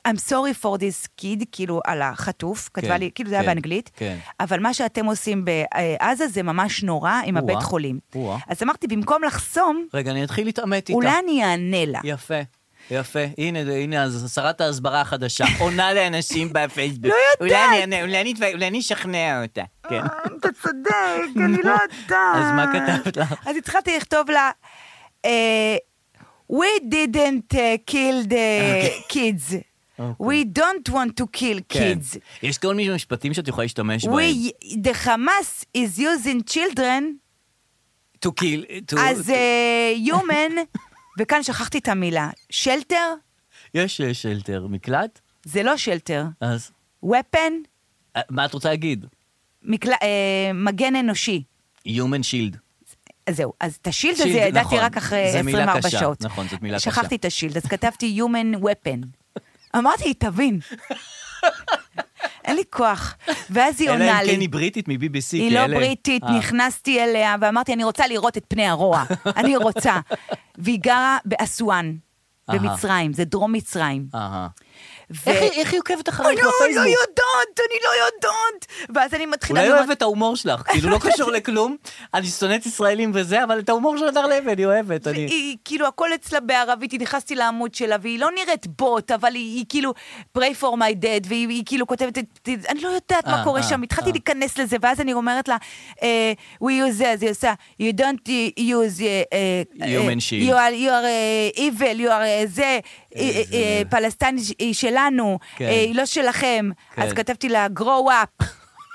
אה, I'm sorry for this kid, כאילו, על החטוף, כתבה כן, לי, כאילו זה היה כן, באנגלית, כן. אבל מה שאתם עושים בעזה זה ממש נורא עם או-אה, הבית חולים. או-אה. אז אמרתי, במקום לחסום, רגע, אני אתחיל להתעמת איתה. אולי אני אענה לה. יפה, יפה. הנה, הנה, אז שרת ההסברה החדשה עונה לאנשים בפייסבוק. לא יודעת. אולי אני אענה, אולי אני אתו- אולי אני אשכנע אותה. כן. אתה צודק, אני לא יודעת. אז מה כתבת לך? אז התחלתי לכתוב לה, אה, We didn't אה, kill the kids. We don't want to kill אוקיי. כן. kids. יש כל מיני משפטים שאת יכולה להשתמש בהם. We, the Hamas is using children To kill, to... אז to- אה, human, וכאן שכחתי את המילה, שלטר יש אה, שלטר, מקלט? זה לא שלטר, אז... weapon, אה, מה את רוצה להגיד? מקל... אה, מגן אנושי. Human shield. אז זהו, אז את השילד שילד, הזה ידעתי נכון. רק אחרי זה מילה 24 קשה, שעות. נכון, זאת מילה קשה. שכחתי את השילד, אז כתבתי Human Weapon. אמרתי, היא תבין. אין לי כוח. ואז היא אלא עונה אם לי. כן היא בריטית מ-BBC. כי היא לא אלה- בריטית, אה, נכנסתי אליה ואמרתי, אני רוצה לראות את פני הרוע. אני רוצה. והיא גרה באסואן, אהה. במצרים, זה דרום מצרים. אהה. ו- איך היא- איך היא עוקבת אני אחרייך לא לא בפייסבוק? יודעת, אני לא יודעת. ואז אני מתחילה... אולי לראות- אוהבת את ההומור שלך, כאילו לא קשור לכלום, אני שונאת ישראלים וזה, אבל את ההומור של הדר לוי אני אוהבת, אני... היא, כאילו, הכל אצלה בערבית, היא נכנסתי לעמוד שלה, והיא לא נראית בוט, אבל היא, היא כאילו, pray for my dead, והיא היא כאילו כותבת, את- את- אני לא יודעת מה אה, קורה אה, שם, התחלתי אה. להיכנס לזה, ואז אני אומרת לה, אה, we use זה, אז היא עושה, you don't use... אה, אה, Human אה, shield. You are, you are אה, evil, you are אה, זה, אה, אה, אה, פלסטין ש- היא שלנו, כן. אה, היא לא שלכם. אז כן. כתבתי לה, grow up.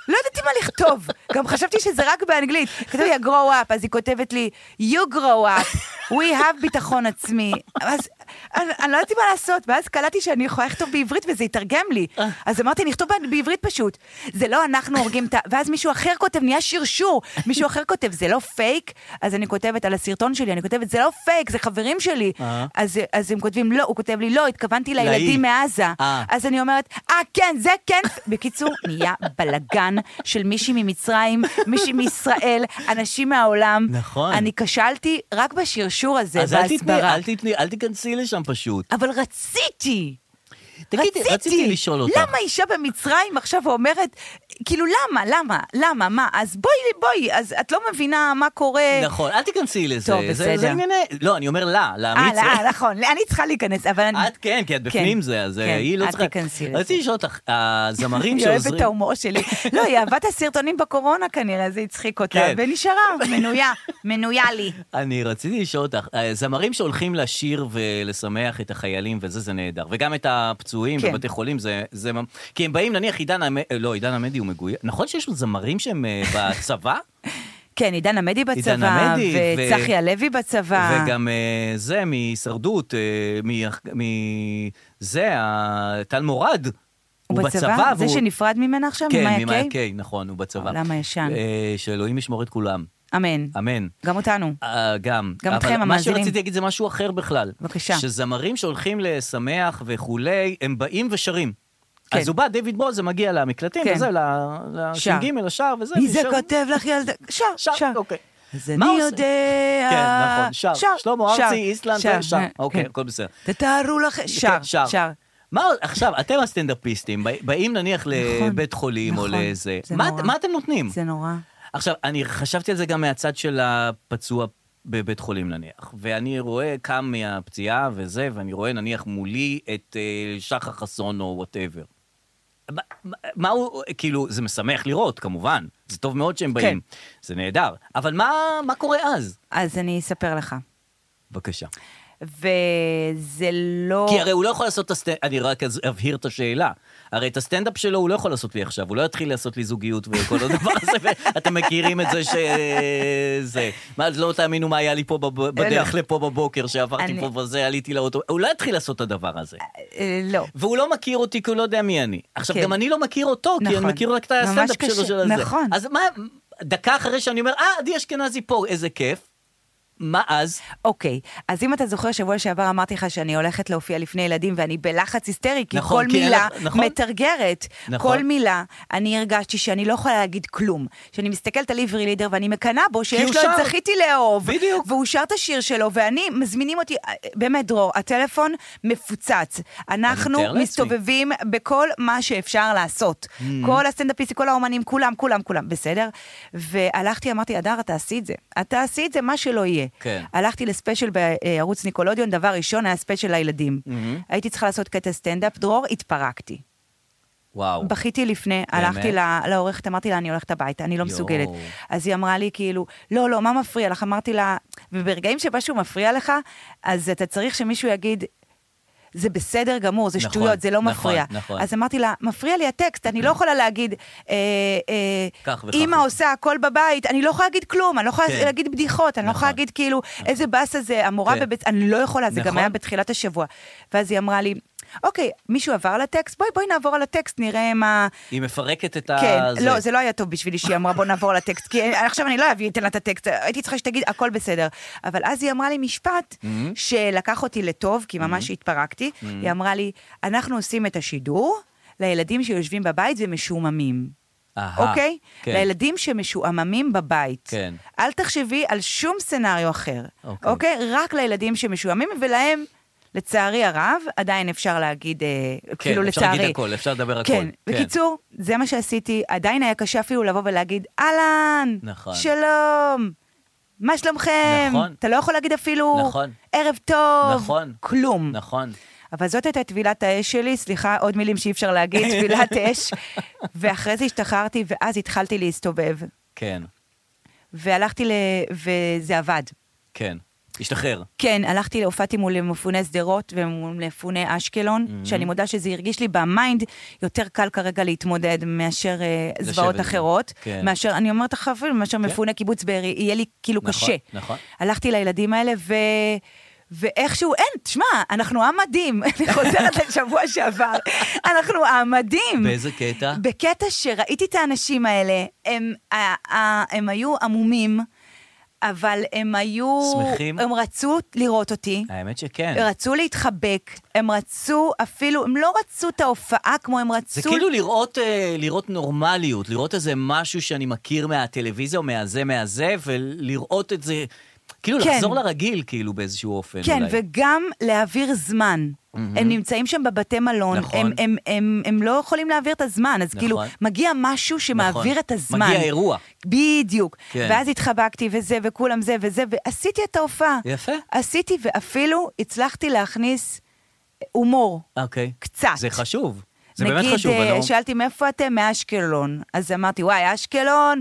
לא ידעתי מה לכתוב, גם חשבתי שזה רק באנגלית. כתבתי לה grow up, אז היא כותבת לי, you grow up, we have ביטחון עצמי. אז אני, אני לא ידעתי מה לעשות, ואז קלטתי שאני יכולה לכתוב בעברית וזה יתרגם לי. אז אמרתי, נכתוב בע- בעברית פשוט. זה לא אנחנו הורגים את ה... ואז מישהו אחר כותב, נהיה שרשור. מישהו אחר כותב, זה לא פייק? אז אני כותבת על הסרטון שלי, אני כותבת, זה לא פייק, זה חברים שלי. אה. אז, אז הם כותבים, לא, הוא כותב לי, לא, התכוונתי להיא. לילדים מעזה. אה. אז אני אומרת, אה, כן, זה כן. בקיצור, נהיה בלגן של מישהי ממצרים, מישהי מישראל, אנשים מהעולם. נכון. אני כשלתי רק בשרשור הזה, אז אל תתני, בהסברה. אל תתני, אל תיכנסי לשם פשוט. אבל רציתי. תגידי, רציתי לשאול אותך. למה אישה במצרים עכשיו אומרת, כאילו למה, למה, למה, מה, אז בואי, בואי, אז את לא מבינה מה קורה. נכון, אל תיכנסי לזה. טוב, זה- בסדר. זה ענייני... לא, אני אומר לה, אה, לאמיץ. לא, אה, נכון, אני צריכה להיכנס, אבל אני... את כן, כי את בפנים זה, אז כן, היא לא אל צריכה... תיכנסי לזה. רציתי לשאול אותך, הזמרים אני אוהבת את שעוזרים... ההומור שלי. לא, היא אהבה את הסרטונים בקורונה כנראה, זה הצחיק אותה, כן. ונשארה, מנויה, מנויה לי. אני רציתי לשאול אותך, אה, זמרים שהולכים לשיר ולשמח את החיילים וזה, זה נהדר. וגם את הפצועים כן. בבתי חולים, זה... זה ממ- כי הם באים, נניח עידן עמדי, לא, עידן עמדי הוא מגויס. נכון שיש לו זמרים שהם אה, בצבא? כן, עידן עמדי עידן בצבא, עמדי, ו- וצחי הלוי בצבא. וגם אה, זה מהישרדות, אה, מ- מ- זה, ה- טל מורד. הוא בצבא? זה שנפרד ממנה עכשיו? כן, ממאיה ממאיה קיי? קיי, נכון, הוא בצבא. העולם הישן. אה, שאלוהים ישמור את כולם. אמן. אמן. גם אותנו. אה, גם. גם אתכם, אבל מה המאזינים. שרציתי להגיד זה משהו אחר בכלל. בבקשה. שזמרים שהולכים לשמח וכולי, הם באים ושרים. כן. אז הוא בא, דיוויד בוז, זה מגיע למקלטים, כן. וזה, ל- שר. לש"ג, לשער, וזה. מי זה ושר. כותב לך ילדה? שר, שר, שר. אוקיי. אז מה אני הוא עושה? יודע... כן, נכון, שר. שלמה שר, ארצי, איסלנד, שר, שר. אה, אוקיי, כן. הכל בסדר. תתארו לכם... שר, כן, שר. מה, עכשיו, אתם הסטנדאפיסטים, בא- באים נניח לבית אה, חולים או נכון, לאיזה... זה מה- נורא. מה אתם נותנים? זה נורא. עכשיו, אני חשבתי על זה גם מהצד של הפצוע בבית חולים נניח, ואני רואה, קם מהפציעה וזה, ואני רואה נניח מולי את אה, שחר חסון או וואטאבר. מה- מה- מה הוא, כאילו, זה משמח לראות, כמובן. זה טוב מאוד שהם באים. זה נהדר. אבל מה, מה קורה אז? אז אני אספר לך. בבקשה. וזה לא... כי הרי הוא לא יכול לעשות את הסטנדאפ, אני רק אז אבהיר את השאלה. הרי את הסטנדאפ שלו הוא לא יכול לעשות לי עכשיו, הוא לא יתחיל לעשות לי זוגיות וכל הדבר הזה, ואתם מכירים את זה ש... זה. מה, לא תאמינו מה היה לי פה בב- בדרך לפה בבוקר, שעברתי לא, אני- פה וזה, עליתי לאוטו, הוא לא יתחיל לעשות את הדבר הזה. אה, לא. והוא לא מכיר אותי כי הוא לא יודע מי אני. עכשיו, כן. גם אני לא מכיר אותו, כי אני נכון. מכיר רק את ממש הסטנדאפ שלו קשה. של הזה. נכון. אז מה, דקה אחרי שאני אומר, אה, עדי אשכנזי פה, איזה כיף. מה אז? אוקיי, אז אם אתה זוכר, שבוע שעבר אמרתי לך שאני הולכת להופיע לפני ילדים ואני בלחץ היסטרי, כי נכון, כל כי אין מילה לך- נכון. מתרגרת. נכון. כל מילה, אני הרגשתי שאני לא יכולה להגיד כלום. שאני מסתכלת על עברי לידר ואני מקנאה בו הוא שיש לו את שר. זכיתי לאהוב. בדיוק. והוא שר את השיר שלו, ואני, מזמינים אותי, אה, באמת, דרור, הטלפון מפוצץ. אנחנו אני מתאר לעצמי. מסתובבים בכל מה שאפשר לעשות. כל הסטנדאפיסטים, כל האומנים, כולם, כולם, כולם, בסדר? והלכתי, אמרתי, אדר, תעשי את זה. את תעשי את זה, מה שלא יהיה. כן. הלכתי לספיישל בערוץ ניקולודיון, דבר ראשון היה ספיישל לילדים. הייתי צריכה לעשות קטע סטנדאפ, דרור, התפרקתי. וואו. בכיתי לפני, הלכתי ל- לעורכת, אמרתי לה, אני הולכת הביתה, אני לא יואו. מסוגלת. אז היא אמרה לי, כאילו, לא, לא, מה מפריע לך? אמרתי לה, וברגעים שמשהו מפריע לך, אז אתה צריך שמישהו יגיד... זה בסדר גמור, זה נכון, שטויות, זה לא נכון, מפריע. נכון. אז אמרתי לה, מפריע לי הטקסט, אני לא יכולה להגיד, אה, אה, כך וכך. אימא עושה הכל בבית, אני לא יכולה להגיד כלום, אני לא יכולה כן. להגיד בדיחות, אני לא יכולה נכון. להגיד כאילו, איזה באסה זה, המורה כן. בבית, אני לא יכולה, זה נכון. גם היה בתחילת השבוע. ואז היא אמרה לי, אוקיי, מישהו עבר על הטקסט? בואי, בואי נעבור על הטקסט, נראה מה... היא מפרקת את כן, ה... לא, זה לא היה טוב בשבילי שהיא אמרה בוא נעבור לטקסט, כי אני- עכשיו אני לא אביא, אתן לה את הטקסט, הייתי צריכה שתגיד הכל בסדר. אבל אז היא אמרה לי משפט שלקח אותי לטוב, כי ממש התפרקתי, היא אמרה לי, אנחנו עושים את השידור לילדים שיושבים בבית ומשועממים. אהה, אוקיי? כן. לילדים שמשועממים בבית. כן. אל תחשבי על שום סצנריו אחר. אוקיי. אוקיי? רק לילדים שמשועממים, ולהם, לצערי הרב, עדיין אפשר להגיד, אה, כאילו כן, אפשר לצערי. להגיד הכל, אפשר לדבר הכל, כן, כן. בקיצור, זה מה שעשיתי, עדיין היה קשה אפילו לבוא ולהגיד, אהלן, נכון. שלום, מה שלומכם? נכון. אתה לא יכול להגיד אפילו, נכון. ערב טוב, נכון. כלום. נכון. אבל זאת הייתה טבילת האש שלי, סליחה, עוד מילים שאי אפשר להגיד, טבילת אש. ואחרי זה השתחררתי, ואז התחלתי להסתובב, כן, והלכתי ל... וזה עבד. כן. השתחרר. כן, הלכתי, הופעתי מול מפוני שדרות ומפוני אשקלון, mm-hmm. שאני מודה שזה הרגיש לי במיינד יותר קל כרגע להתמודד מאשר uh, לשבת זוועות עם. אחרות. כן. מאשר, אני אומרת לך אפילו, מאשר כן. מפוני קיבוץ בארי, יהיה לי כאילו נכון, קשה. נכון. הלכתי לילדים האלה ו... ואיכשהו, אין, תשמע, אנחנו עם מדהים. אני חוזרת לשבוע שעבר. אנחנו עם מדהים. באיזה קטע? בקטע שראיתי את האנשים האלה, הם, ה- ה- הם היו עמומים, אבל הם היו... שמחים? הם רצו לראות אותי. האמת שכן. רצו להתחבק, הם רצו אפילו, הם לא רצו את ההופעה כמו הם רצו... זה כאילו לראות, אה, לראות נורמליות, לראות איזה משהו שאני מכיר מהטלוויזיה או מהזה מהזה, ולראות את זה, כאילו כן. לחזור לרגיל כאילו באיזשהו אופן כן, אולי. וגם להעביר זמן. הם נמצאים שם בבתי מלון, נכון. הם, הם, הם, הם לא יכולים להעביר את הזמן, אז נכון. כאילו, מגיע משהו שמעביר נכון. את הזמן. מגיע אירוע. בדיוק. כן. ואז התחבקתי וזה, וכולם זה וזה, ועשיתי את ההופעה. יפה. עשיתי, ואפילו הצלחתי להכניס הומור. אוקיי. קצת. זה חשוב. זה נגיד, באמת חשוב, אה, אני לא- שאלתי מאיפה אתם? מאשקלון. אז אמרתי, וואי, אשקלון,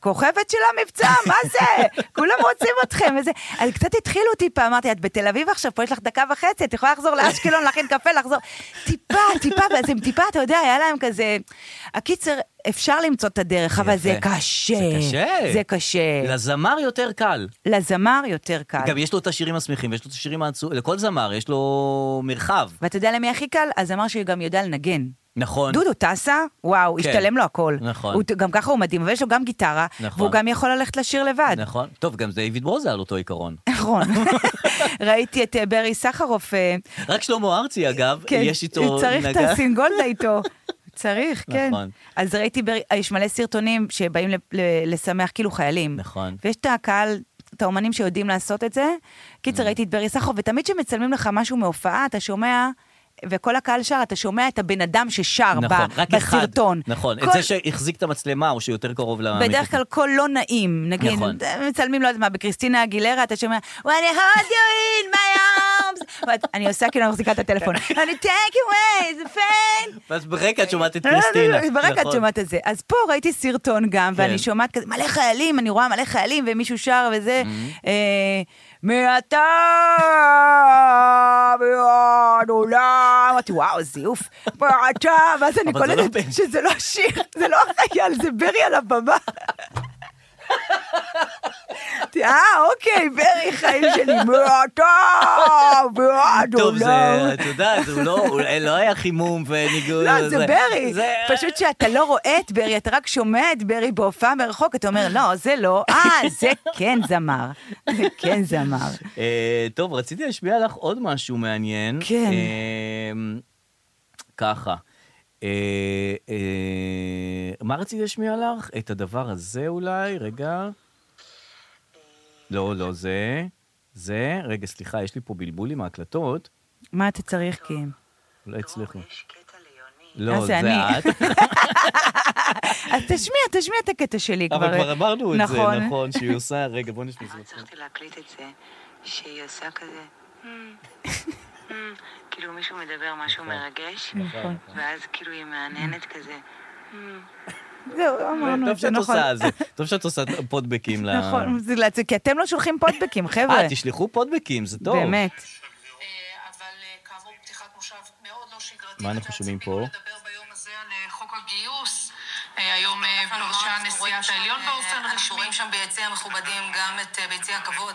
כוכבת של המבצע, מה זה? כולם רוצים אתכם. וזה. אז קצת התחילו טיפה, אמרתי, את בתל אביב עכשיו, פה יש לך דקה וחצי, את יכולה לחזור לאשקלון, להכין קפה, לחזור. טיפה, טיפה, ואז הם טיפה, אתה יודע, היה להם כזה... הקיצר, אפשר למצוא את הדרך, אבל זה יפה. קשה. זה קשה. זה קשה. לזמר יותר קל. לזמר יותר קל. גם יש לו את השירים השמחים, ויש לו את השירים העצובים, לכל זמר יש לו מרחב. ואתה יודע למי הכי קל? הזמר שגם יודע לנגן. נכון. דודו טסה, וואו, כן. השתלם לו הכל. נכון. הוא, גם ככה הוא מדהים, ויש לו גם גיטרה, נכון. והוא גם יכול ללכת לשיר לבד. נכון. טוב, גם דיוויד ברוזה על אותו עיקרון. נכון. ראיתי את אה, ברי סחרוף, אה, רק שלמה ארצי, אגב, כן, יש איתו הוא צריך את נגע. הסינגולדה איתו. צריך, כן. נכון. אז ראיתי, בר... יש מלא סרטונים שבאים ל... ל... לשמח כאילו חיילים. נכון. ויש את הקהל, את האומנים שיודעים לעשות את זה. Mm. קיצר, ראיתי את ברי סחרוף, ותמיד כשמצלמים לך משהו מהופעה, אתה שומע... וכל הקהל שר, אתה שומע את הבן אדם ששר נכון, ב- רק אחד. בסרטון. נכון, את כל- זה שהחזיק את המצלמה, או שיותר קרוב למיקרופון. בדרך כלל קול לא נעים, נגיד, נכון. מצלמים, לא יודעת מה, בקריסטינה אגילרה, אתה שומע, When I hold you in my arms, ואת- אני עושה כאילו אני מחזיקה את הטלפון, אני take away the pain. ואז ברקע את שומעת את קריסטינה. אה, ברקע את נכון. שומעת את זה. אז פה ראיתי סרטון גם, כן. ואני שומעת כזה, מלא חיילים, אני רואה מלא חיילים, ומישהו שר וזה, אה, מעתה ועד עולם, אמרתי, וואו, זיוף, מעתה, ואז אני אבל זה לא קולטת בן. שזה לא שיר, זה לא החייל, זה ברי על הבמה. אמרתי, אה, אוקיי, ברי, חיים שלי, מעתה ועד טוב, עולם. זה, את יודעת, הוא לא, הוא לא היה חימום וניגוד. לא, זה ברי. זה- פשוט שאתה לא רואה את ברי, אתה רק שומע את ברי בהופעה מרחוק, אתה אומר, לא, זה לא, אה, זה כן זמר. זה כן זמר. אה, טוב, רציתי להשמיע לך עוד משהו מעניין. כן. אה, ככה. אה, אה, מה רציתי להשמיע לך? את הדבר הזה אולי? רגע. לא, לא זה. זה. רגע, סליחה, יש לי פה בלבול עם ההקלטות. מה אתה צריך, קים? לא הצליחו. לא, אה, זה, זה אני. את. אז אה, תשמיע, תשמיע את הקטע שלי כבר. אבל כבר אמרנו את נכון. זה, נכון, שהיא עושה... רגע, בוא נשמע. את זה. הצלחתי להקליט את זה, שהיא עושה כזה, "Hmm, hmm", כאילו מישהו מדבר משהו מרגש, נכון. ואז כאילו היא מהנהנת כזה. זהו, אמרנו טוב את זה, שאת נכון. עושה את זה. טוב שאת עושה פודבקים ל... נכון, זה לעצ- כי אתם לא שולחים פודבקים, חבר'ה. אה, תשלחו פודבקים, זה טוב. באמת. אה, אבל אה, כאמור, פתיחת מושב מאוד לא שגרתית. מה אנחנו אתה שומעים ציפינו פה? לדבר ביום הזה על אה, חוק הגיוס. אה, היום אה, פרשה נשיאת אה, העליון באופן אנחנו רשמי. רואים שם ביציע המכובדים גם את אה, ביציע הכבוד,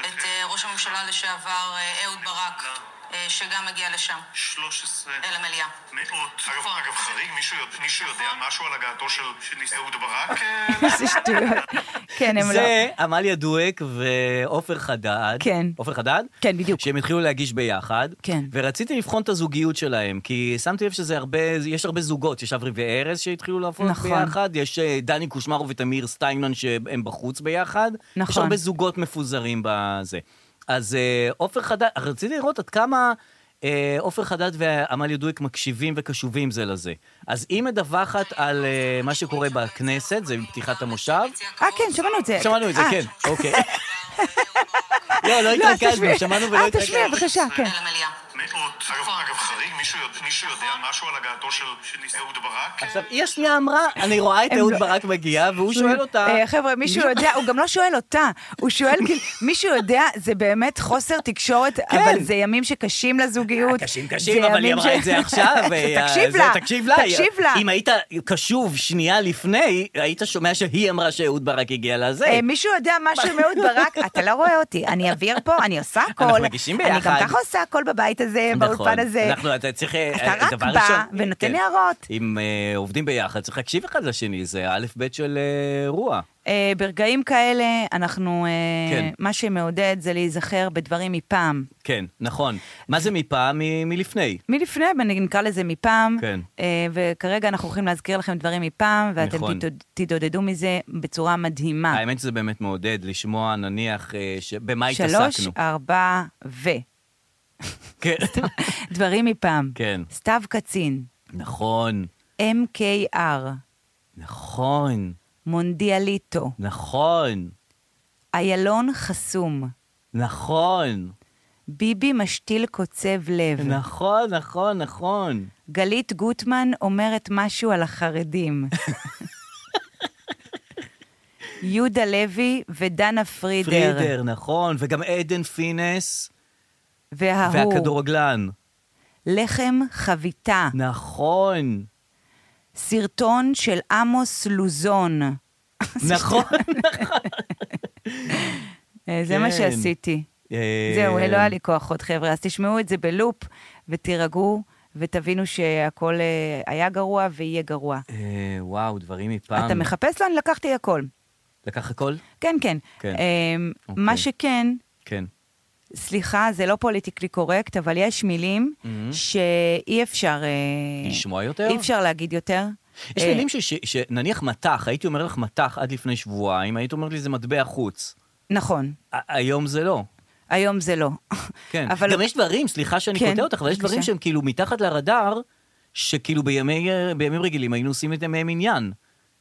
את אה, ראש הממשלה לשעבר אה, אהוד ברק, אה, שגם הגיע לשם, 13 אה, למליאה. מאות. אגב, אגב, חריג, מישהו יודע- מישהו יודע משהו על הגעתו של אהוד ברק? איזה שטויות. כן, הם לא... זה עמליה דואק ועופר חדד. כן. עופר חדד? כן, בדיוק. שהם התחילו להגיש ביחד. כן. ורציתי לבחון את הזוגיות שלהם, כי שמתי לב שזה הרבה, יש הרבה זוגות, יש אברי וארז שהתחילו לעבוד נכון. ביחד, יש אה, דני קושמרו ותמיר סטיינמן שהם בחוץ ביחד. יש נכון. הרבה זוגות מפוזרים בזה. אז אה, עופר חדד, רציתי לראות עד כמה... אה, עופר חדד ועמליה דואק מקשיבים וקשובים זה לזה. אז היא מדווחת על אה, מה שקורה בכנסת, זה מפתיחת המושב, אה, כן, שמענו את זה. שמענו את זה, אה, כן, אוקיי. לא, לא לא, אז התרכזנו, תשמיע. שמענו אה, ולא תשמיע, התרכזנו. בבקשה, כן. אה, למליאה. מאות. אגב, אגב, חריג, מישהו יודע- מישהו יודע משהו על הגעתו של אהוד ברק? עכשיו, היא השנייה אמרה, אני רואה את הם אהוד לא- ברק מגיע, והוא שואל אותה... אה, חבר'ה, מישהו יודע, הוא גם לא שואל אותה, הוא שואל, כאילו, מישהו יודע, זה באמת חוסר תקשורת, אבל זה ימים שקשים לזוגיות. כן. קשים זה קשים, אבל היא ימים אמרה ש- את זה עכשיו. אה, תקשיב זה- לה, תקשיב לה. תקשיב לה. אם היית קשוב שנייה לפני, היית שומע שהיא אמרה שאהוד ברק הגיע לזה. אה, מישהו יודע משהו עם אהוד ברק? אתה לא רואה אותי, אני אוויר פה, אני עושה הכל. אנחנו מגישים אני ביחד. גם ככה עושה הכל בבית הזה, נכון. באולפן הזה. אנחנו, אתה צריך... אה, אתה רק דבר בא ראשון- ונותן כן. הערות. אם אה, עובדים ביחד, צריך להקשיב אחד לשני, זה האלף-בית של אה, רוע. אה, ברגעים כאלה, אנחנו, אה, כן. מה שמעודד זה להיזכר בדברים מפעם. כן, נכון. מה זה מפעם? מ- מלפני. מלפני, בוא נקרא לזה מפעם, כן. אה, וכרגע אנחנו הולכים להזכיר לכם דברים מפעם, ואתם נכון. תתוד- תתעודדו מזה בצורה מדהימה. האמת שזה באמת מעודד לשמוע, נניח, אה, ש- במה שלוש, התעסקנו. ארבע ו. כן. דברים מפעם. כן. סתיו קצין, נכון, MKR, נכון, מונדיאליטו, נכון, איילון חסום, נכון, ביבי משתיל קוצב לב, נכון, נכון, נכון. גלית גוטמן אומרת משהו על החרדים. יהודה לוי ודנה פרידר. פרידר, נכון, וגם עדן פינס וההוא. והכדורגלן. לחם חביתה, נכון, סרטון של עמוס לוזון. נכון. אה, זה כן. מה שעשיתי. לא אה, זהו, לא היה לי כוח עוד, חבר'ה. אז תשמעו את זה בלופ ותירגעו ותבינו שהכל אה, היה גרוע ויהיה גרוע. אה, וואו, דברים מפעם. אתה מחפש לאן? לקחתי הכל. לקח הכל? כן, כן. כן. אמ, אוקיי. מה שכן, כן. סליחה, זה לא פוליטיקלי קורקט, אבל יש מילים שאי אפשר... אה, Mm-hmm. לשמוע יותר? אי אפשר להגיד יותר. יש אה, מילים ש- ש- שנניח מטח, הייתי אומר לך מטח עד לפני שבועיים, היית אומרת לי זה מטבע חוץ. נכון, ה- היום זה לא. היום זה לא. כן. אבל... לא- גם יש דברים, סליחה שאני כן, קוטע אותך, אבל יש דברים בבקשה. שהם כאילו מתחת לרדאר, שכאילו בימי, אה, בימים רגילים היינו עושים את מהם עניין.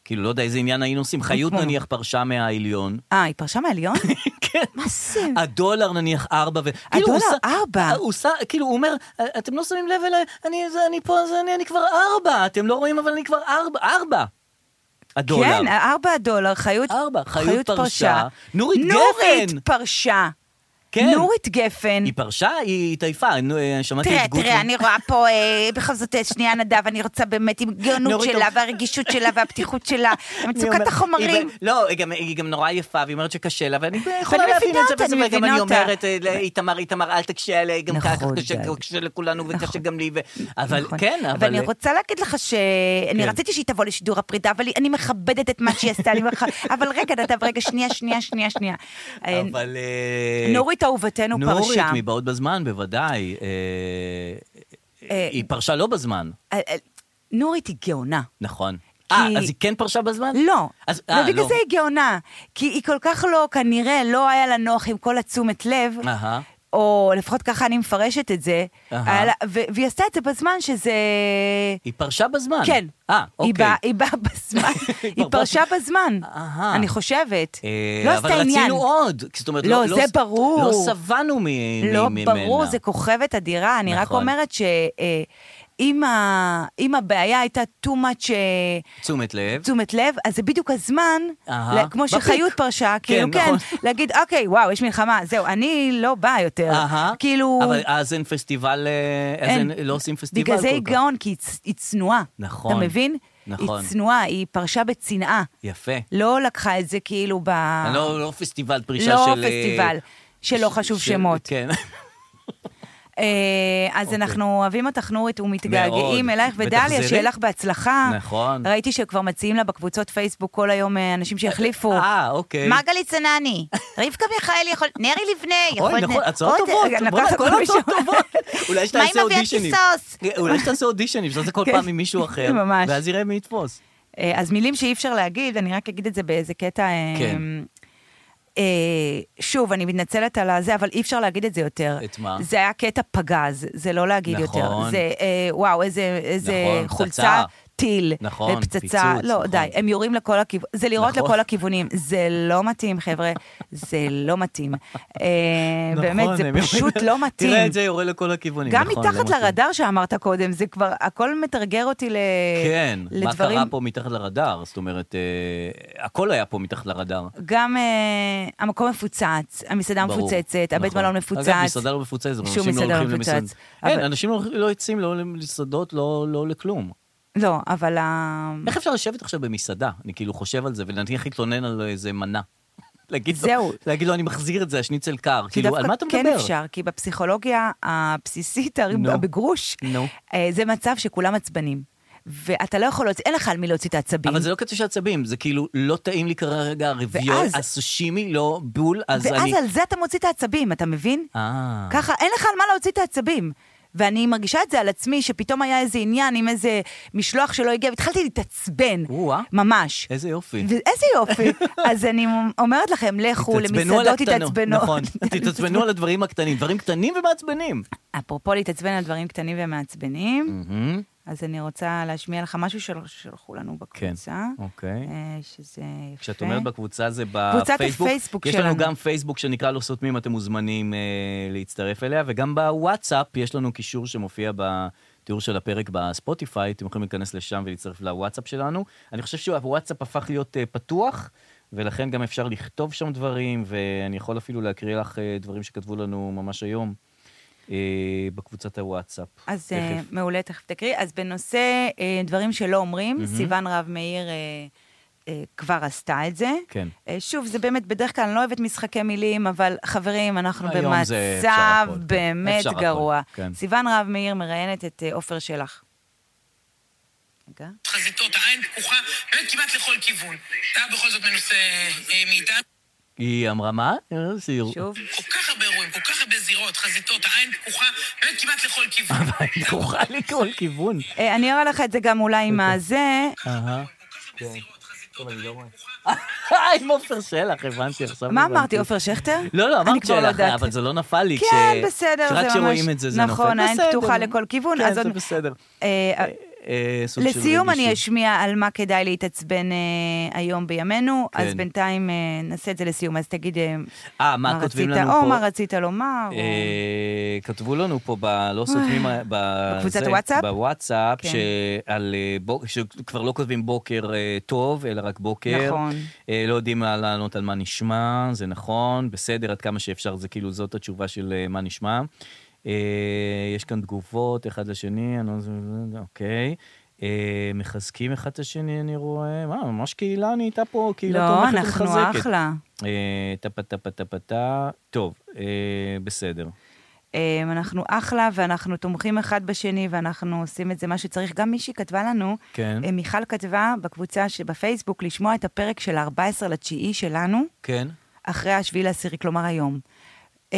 כאילו, לא יודע איזה עניין היינו עושים. חיות כמו? נניח פרשה מהעליון. אה, היא פרשה מהעליון? כן. מה זה? הדולר נניח ארבע ו... כאילו, הדולר הוא עושה- ארבע. הוא עושה, כאילו, הוא אומר, אתם לא שמים לב אליי, אני, זה, אני פה, אז אני, אני כבר ארבע, אתם לא רואים, אבל אני כבר ארבע, ארבע. הדולר. כן, ארבע דולר, חיות, ארבע, חיות פרשה. נורית גפן. נורית פרשה. כן. נורית גפן. היא פרשה, היא התעייפה, נו, אה, שמעתי תראה, את גוטמן. תראה, אני רואה פה, אה, בכל זאת, אה, שנייה נדב, אני רוצה באמת עם הגאונות נורית, שלה, טוב. והרגישות שלה, והפתיחות שלה, אני אומר- מצוקת החומרים. היא ב- לא, היא גם- היא גם נורא יפה, והיא אומרת שקשה לה, ואני יכולה ואני להבין מבינה את זה, אותה, בסופו אני של דבר גם מבינה אני אותה. אומרת, אה, לאיתמר, איתמר, אל תקשה עליי, גם ככה נכון, קשה- גדי. קשה לכולנו וקשה נכון. גם לי, ו- אבל נכון. כן, אבל... ואני רוצה להגיד לך שאני כן. רציתי שהיא תבוא לשידור הפרידה, אבל היא- אני מכבדת את מה שהיא עשתה לי, מח- אבל רגע, נדב, רגע, שנייה, שנייה, שנייה, שנייה. אה, אבל... אה, נורית אהובתנו נורית, פרשה. מבעוד בזמן, בוודאי. אה, אה, היא פרשה לא בזמן, אה, אה, נורית היא גאונה. נכון. אה, אז היא כן פרשה בזמן? לא, אז- אה, ובגלל לא. זה היא גאונה, כי היא כל כך לא, כנראה לא היה לה נוח עם כל התשומת לב, אהה. או לפחות ככה אני מפרשת את זה, אה. אהה. היה לה- ו- והיא עשתה את זה בזמן שזה... היא פרשה בזמן. כן, אה, היא אוקיי. באה- היא באה בזמן, היא כבר באה- פרשה בזמן, אהה. אני חושבת, אה, לא עשתה אבל עניין. רצינו עוד. זאת אומרת, לא, זה ס- ברור. לא שבענו מ- מ- לא, ממנה. ברור, זה כוכבת אדירה, אני רק נכון. אומרת ש... אה, אם ה- אם הבעיה הייתה too much אה, תשומת לב. תשומת לב, אז זה בדיוק הזמן, אהה. ל- כמו בפיק. שחיות פרשה, כאילו, כן, נכון. להגיד, אוקיי, וואו, יש מלחמה, זהו, אני לא באה יותר. אהה. כאילו, אבל אז אין פסטיבל, אה, אז אין, לא עושים פסטיבל בגלל זה כל היא כך. גאון, כי היא צ- היא צנועה. נכון. אתה מבין? נכון. היא צנועה, היא פרשה בצנעה. יפה. לא לקחה את זה כאילו ב... לא, לא פסטיבל פרישה לא של... אה, פסטיבל, שלא ש- חשוב של- שמות. כן. אה, אז אוקיי. אנחנו אוהבים אותך, נורית, מאוד. ומתגעגעים אלייך, ודליה, ותחזרי. שיהיה לך בהצלחה. נכון. ראיתי שכבר מציעים לה בקבוצות פייסבוק כל היום אה, אנשים שיחליפו. אה, אוקיי. מרגלית צנני, רבקה מיכאל יכול, נרי לבנה, יכול... אוי, נכון, הצעות עוד- טובות. לקחת בוא'נה, כל עוד הצעות מישהו. טובות. אולי מה עם שתעשה אביעד אודישנים. קיסוס? אולי שתעשה אודישנים, שתעשה כל כן. פעם עם מישהו אחר. ממש. ואז יראה מי יתפוס. אה, אז מילים שאי אפשר להגיד, אני רק אגיד את זה באיזה קטע... אה, כן. אה, שוב, אני מתנצלת על הזה, אבל אי אפשר להגיד את זה יותר. את מה? זה היה קטע פגז, זה לא להגיד נכון. יותר. זה, אה, וואו, איזה, איזה נכון, חולצה, פצצה. טיל, נכון, אה, פצצה. פיצוץ, לא, נכון. די, הם יורים לכל הכיוונים, זה לירות נכון. לכל הכיוונים. זה לא מתאים, חבר'ה, זה לא מתאים. אה, באמת, נכון, זה הם פשוט יורים- לא מתאים. תראה את זה יורה לכל הכיוונים. גם נכון, לא מתחת מתאים. לרדאר שאמרת קודם, זה כבר, הכל מתרגר אותי ל... כן, מה לדברים... קרה פה מתחת לרדאר? זאת אומרת, אה, הכל היה פה מתחת לרדאר. גם אה, המקום מפוצץ, המסעדה ברור. מפוצצת, הבית נכון. מלון מפוצץ. אגב, מסעדה לא מפוצצת, אבל שום אנשים לא מסעדה הולכים לא מפוצץ. למסעדות. אין, אבל- אנשים לא הולכים- לא יוצאים לא למסעדות, לא לא לכלום. לא, אבל... ה- איך אפשר לשבת עכשיו במסעדה? אני כאילו חושב על זה, ונניח להתלונן על איזה מנה. להגיד לו- זהו. להגיד לו, אני מחזיר את זה, השניצל קר. כי כאילו, על מה דווקא אתה מדבר? כן אפשר, כי בפסיכולוגיה הבסיסית, הר- נו. בגרוש, נו. אה, זה מצב שכולם עצבנים. ואתה לא יכול להוציא, אין לך על מי להוציא את העצבים. אבל זה לא קטע של עצבים, זה כאילו, לא טעים לי כרגע הרביול, ואז- הסושימי לא בול, אז ואז אני... על זה אתה מוציא את העצבים, אתה מבין? אה. ככה, אין לך על מה להוציא את העצבים. ואני מרגישה את זה על עצמי, שפתאום היה איזה עניין עם איזה משלוח שלא הגיע, והתחלתי להתעצבן, או-אה. ממש. איזה יופי. ואיזה יופי. אז אני אומרת לכם, לכו תתעצבנו על למסעדות, הקטנות, תתעצבנו. נכון, תתעצבנו על הדברים הקטנים, דברים קטנים ומעצבנים. אפרופו להתעצבן על דברים קטנים ומעצבנים, Mm. אז אני רוצה להשמיע לך משהו של- ששלחו לנו בקבוצה. כן, אוקיי. אה, שזה יפה. כשאת אומרת בקבוצה זה בפייסבוק. אוקיי. קבוצת הפייסבוק יש שלנו. לנו גם פייסבוק שנקרא לא סותמים, אתם מוזמנים אה, להצטרף אליה, וגם בוואטסאפ יש לנו קישור שמופיע בתיאור של הפרק בספוטיפיי, אתם יכולים להיכנס לשם ולהצטרף לוואטסאפ שלנו. אני חושב שהוואטסאפ הפך להיות אה, פתוח. ולכן גם אפשר לכתוב שם דברים, ואני יכול אפילו להקריא לך אה, דברים שכתבו לנו ממש היום אה, בקבוצת הוואטסאפ. אז אה, תכף. מעולה, תכף תקריא. אז בנושא אה, דברים שלא אומרים, סיוון רהב מאיר אה, אה, כבר עשתה את זה. כן. אה, שוב, זה באמת, בדרך כלל אני לא אוהבת משחקי מילים, אבל חברים, אנחנו היום זה אפשר במצב הכל, כן. באמת אפשר הכל, גרוע. כן. סיוון רהב מאיר מראיינת את אה, עופר שלח. רגע. חזיתות, העין פקוחה, באמת כמעט לכל כיוון. אתה בכל זאת מנוסה אה, מאיתנו. היא אמרה, מה? אה, סיור. שוב. כל כך הרבה אירועים, כל כך הרבה זירות, חזיתות, העין פקוחה, באמת כמעט לכל כיוון. אבל היא כרוכה לכל כיוון. אה, אני אראה לך את זה גם אולי עם אוקיי. הזה. אהה. אה, עם עופר שלח, הבנתי עכשיו. מה הבנתי. אמרתי, עופר שכטר? לא, לא, אני אמרת כבר לא שלך, יודעת. אבל זה לא נפל לי. כן, כש- בסדר, זה ממש... שרק כשרואים את זה, זה נופל. נכון, העין בסדר. פתוחה לכל כיוון. כן, אז זה עוד- בסדר. אה, אה, סוג של לסיום אני רגישות. אשמיע על מה כדאי להתעצבן אה, היום בימינו, אז כן. בינתיים אה, נעשה את זה לסיום, אז תגיד אה, אה, מה כותבים רצית, לנו או פה? מה רצית לומר, או- אה, כתבו לנו פה, ב- לא סותמים, ב- בקבוצת זה, הוואטסאפ? בוואטסאפ, כן. שעל, אה, בוק- שכבר לא כותבים בוקר אה, טוב, אלא רק בוקר. נכון. אה, לא יודעים מה לענות על מה נשמע, זה נכון, בסדר, עד כמה שאפשר, זה כאילו, זאת התשובה של אה, מה נשמע. אה, יש כאן תגובות, אחד לשני, אני לא... זה- זה- זה- אוקיי. אה, מחזקים אחד את השני, אני רואה. מה, ממש קהילה נהייתה פה, קהילה לא, תומכת אנחנו ומחזקת. אחלה. אה, טפה טפה טפה טה, טוב, אה, בסדר. אה, אנחנו אחלה, ואנחנו תומכים אחד בשני, ואנחנו עושים את זה מה שצריך. גם מישהי כתבה לנו, כן. אה, מיכל כתבה בקבוצה שבפייסבוק, לשמוע את הפרק של 14 לתשיעי שלנו, כן. אחרי השביעי לעשירי, כלומר היום. אה,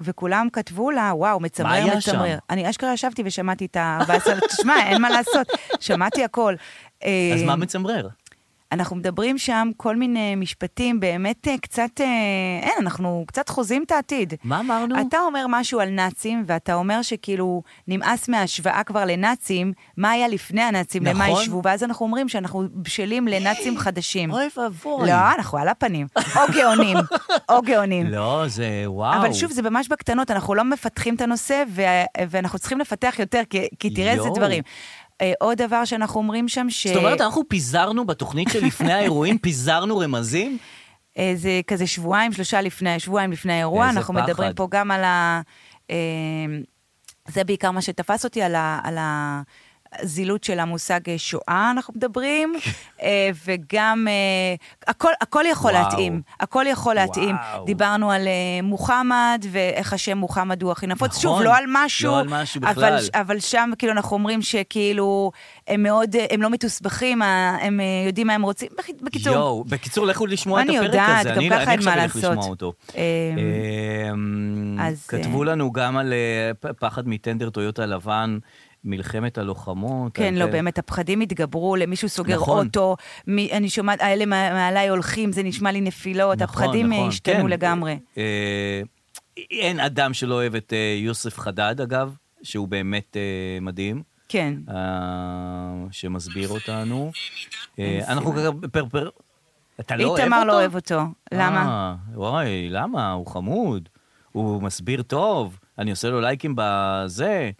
וכולם כתבו לה, וואו, מצמרר, מה היה מצמרר. שם? אני אשכרה ישבתי ושמעתי את ה-14, תשמע, אין מה לעשות, שמעתי הכל. אה, אז מה מצמרר? אנחנו מדברים שם כל מיני משפטים, באמת אה, קצת, אה, אין, אנחנו קצת חוזים את העתיד. מה אמרנו? אתה אומר משהו על נאצים, ואתה אומר שכאילו נמאס מההשוואה כבר לנאצים, מה היה לפני הנאצים, למה נכון. ישבו, ואז אנחנו אומרים שאנחנו בשלים לנאצים חדשים. אוי ואבוי. לא, אנחנו על הפנים. או גאונים, או גאונים. לא, זה וואו. אבל שוב, זה ממש בקטנות, אנחנו לא מפתחים את הנושא, ו- ואנחנו צריכים לפתח יותר, כי, כי תראה איזה יואו. דברים. אה, עוד דבר שאנחנו אומרים שם, ש... זאת אומרת, אנחנו פיזרנו בתוכנית שלפני האירועים, פיזרנו רמזים? אה, זה כזה שבועיים, שלושה לפני, שבועיים לפני האירוע, איזה אנחנו פחד. מדברים פה גם על ה... אה, זה בעיקר מה שתפס אותי, על ה... על ה זילות של המושג אה, שואה, אנחנו מדברים, כן. אה, וגם אה, הכל, הכל יכול וואו. להתאים, הכל יכול להתאים. וואו. דיברנו על אה, מוחמד, ואיך השם מוחמד הוא הכי נפוץ. נכון, שוב, לא על משהו, לא על משהו אבל, בכלל. אבל שם כאילו אנחנו אומרים שכאילו, הם מאוד, אה, הם לא מתוסבכים, אה, הם אה, יודעים מה הם רוצים. בקיצור, יואו, בקיצור, לכו לשמוע את אני הפרק הזה. יודעת, גם ככה אין מה אני עכשיו לעשות. אלך לשמוע אותו. אמ, אמ, אז, כתבו אה, לנו גם על אה, פ- פחד מטנדר טויוטה לבן, מלחמת הלוחמות. כן, על- לא, באמת, הפחדים התגברו, למישהו סוגר נכון. אוטו, מי- אני שומעת, האלה מה- מעליי הולכים, זה נשמע לי נכון, נפילות, הפחדים אה, נכון, השתנו כן. לגמרי. אה, אין אדם שלא אוהב את אה, יוסף חדד, אגב, שהוא באמת אה, מדהים. כן. אה, שמסביר אותנו. אה, אין אנחנו סיבה. ככה פר פר... אתה לא אוהב אותו? איתמר לא אוהב אותו, למה? אה, וואי, למה? הוא חמוד, הוא מסביר טוב, אני עושה לו לייקים בזה.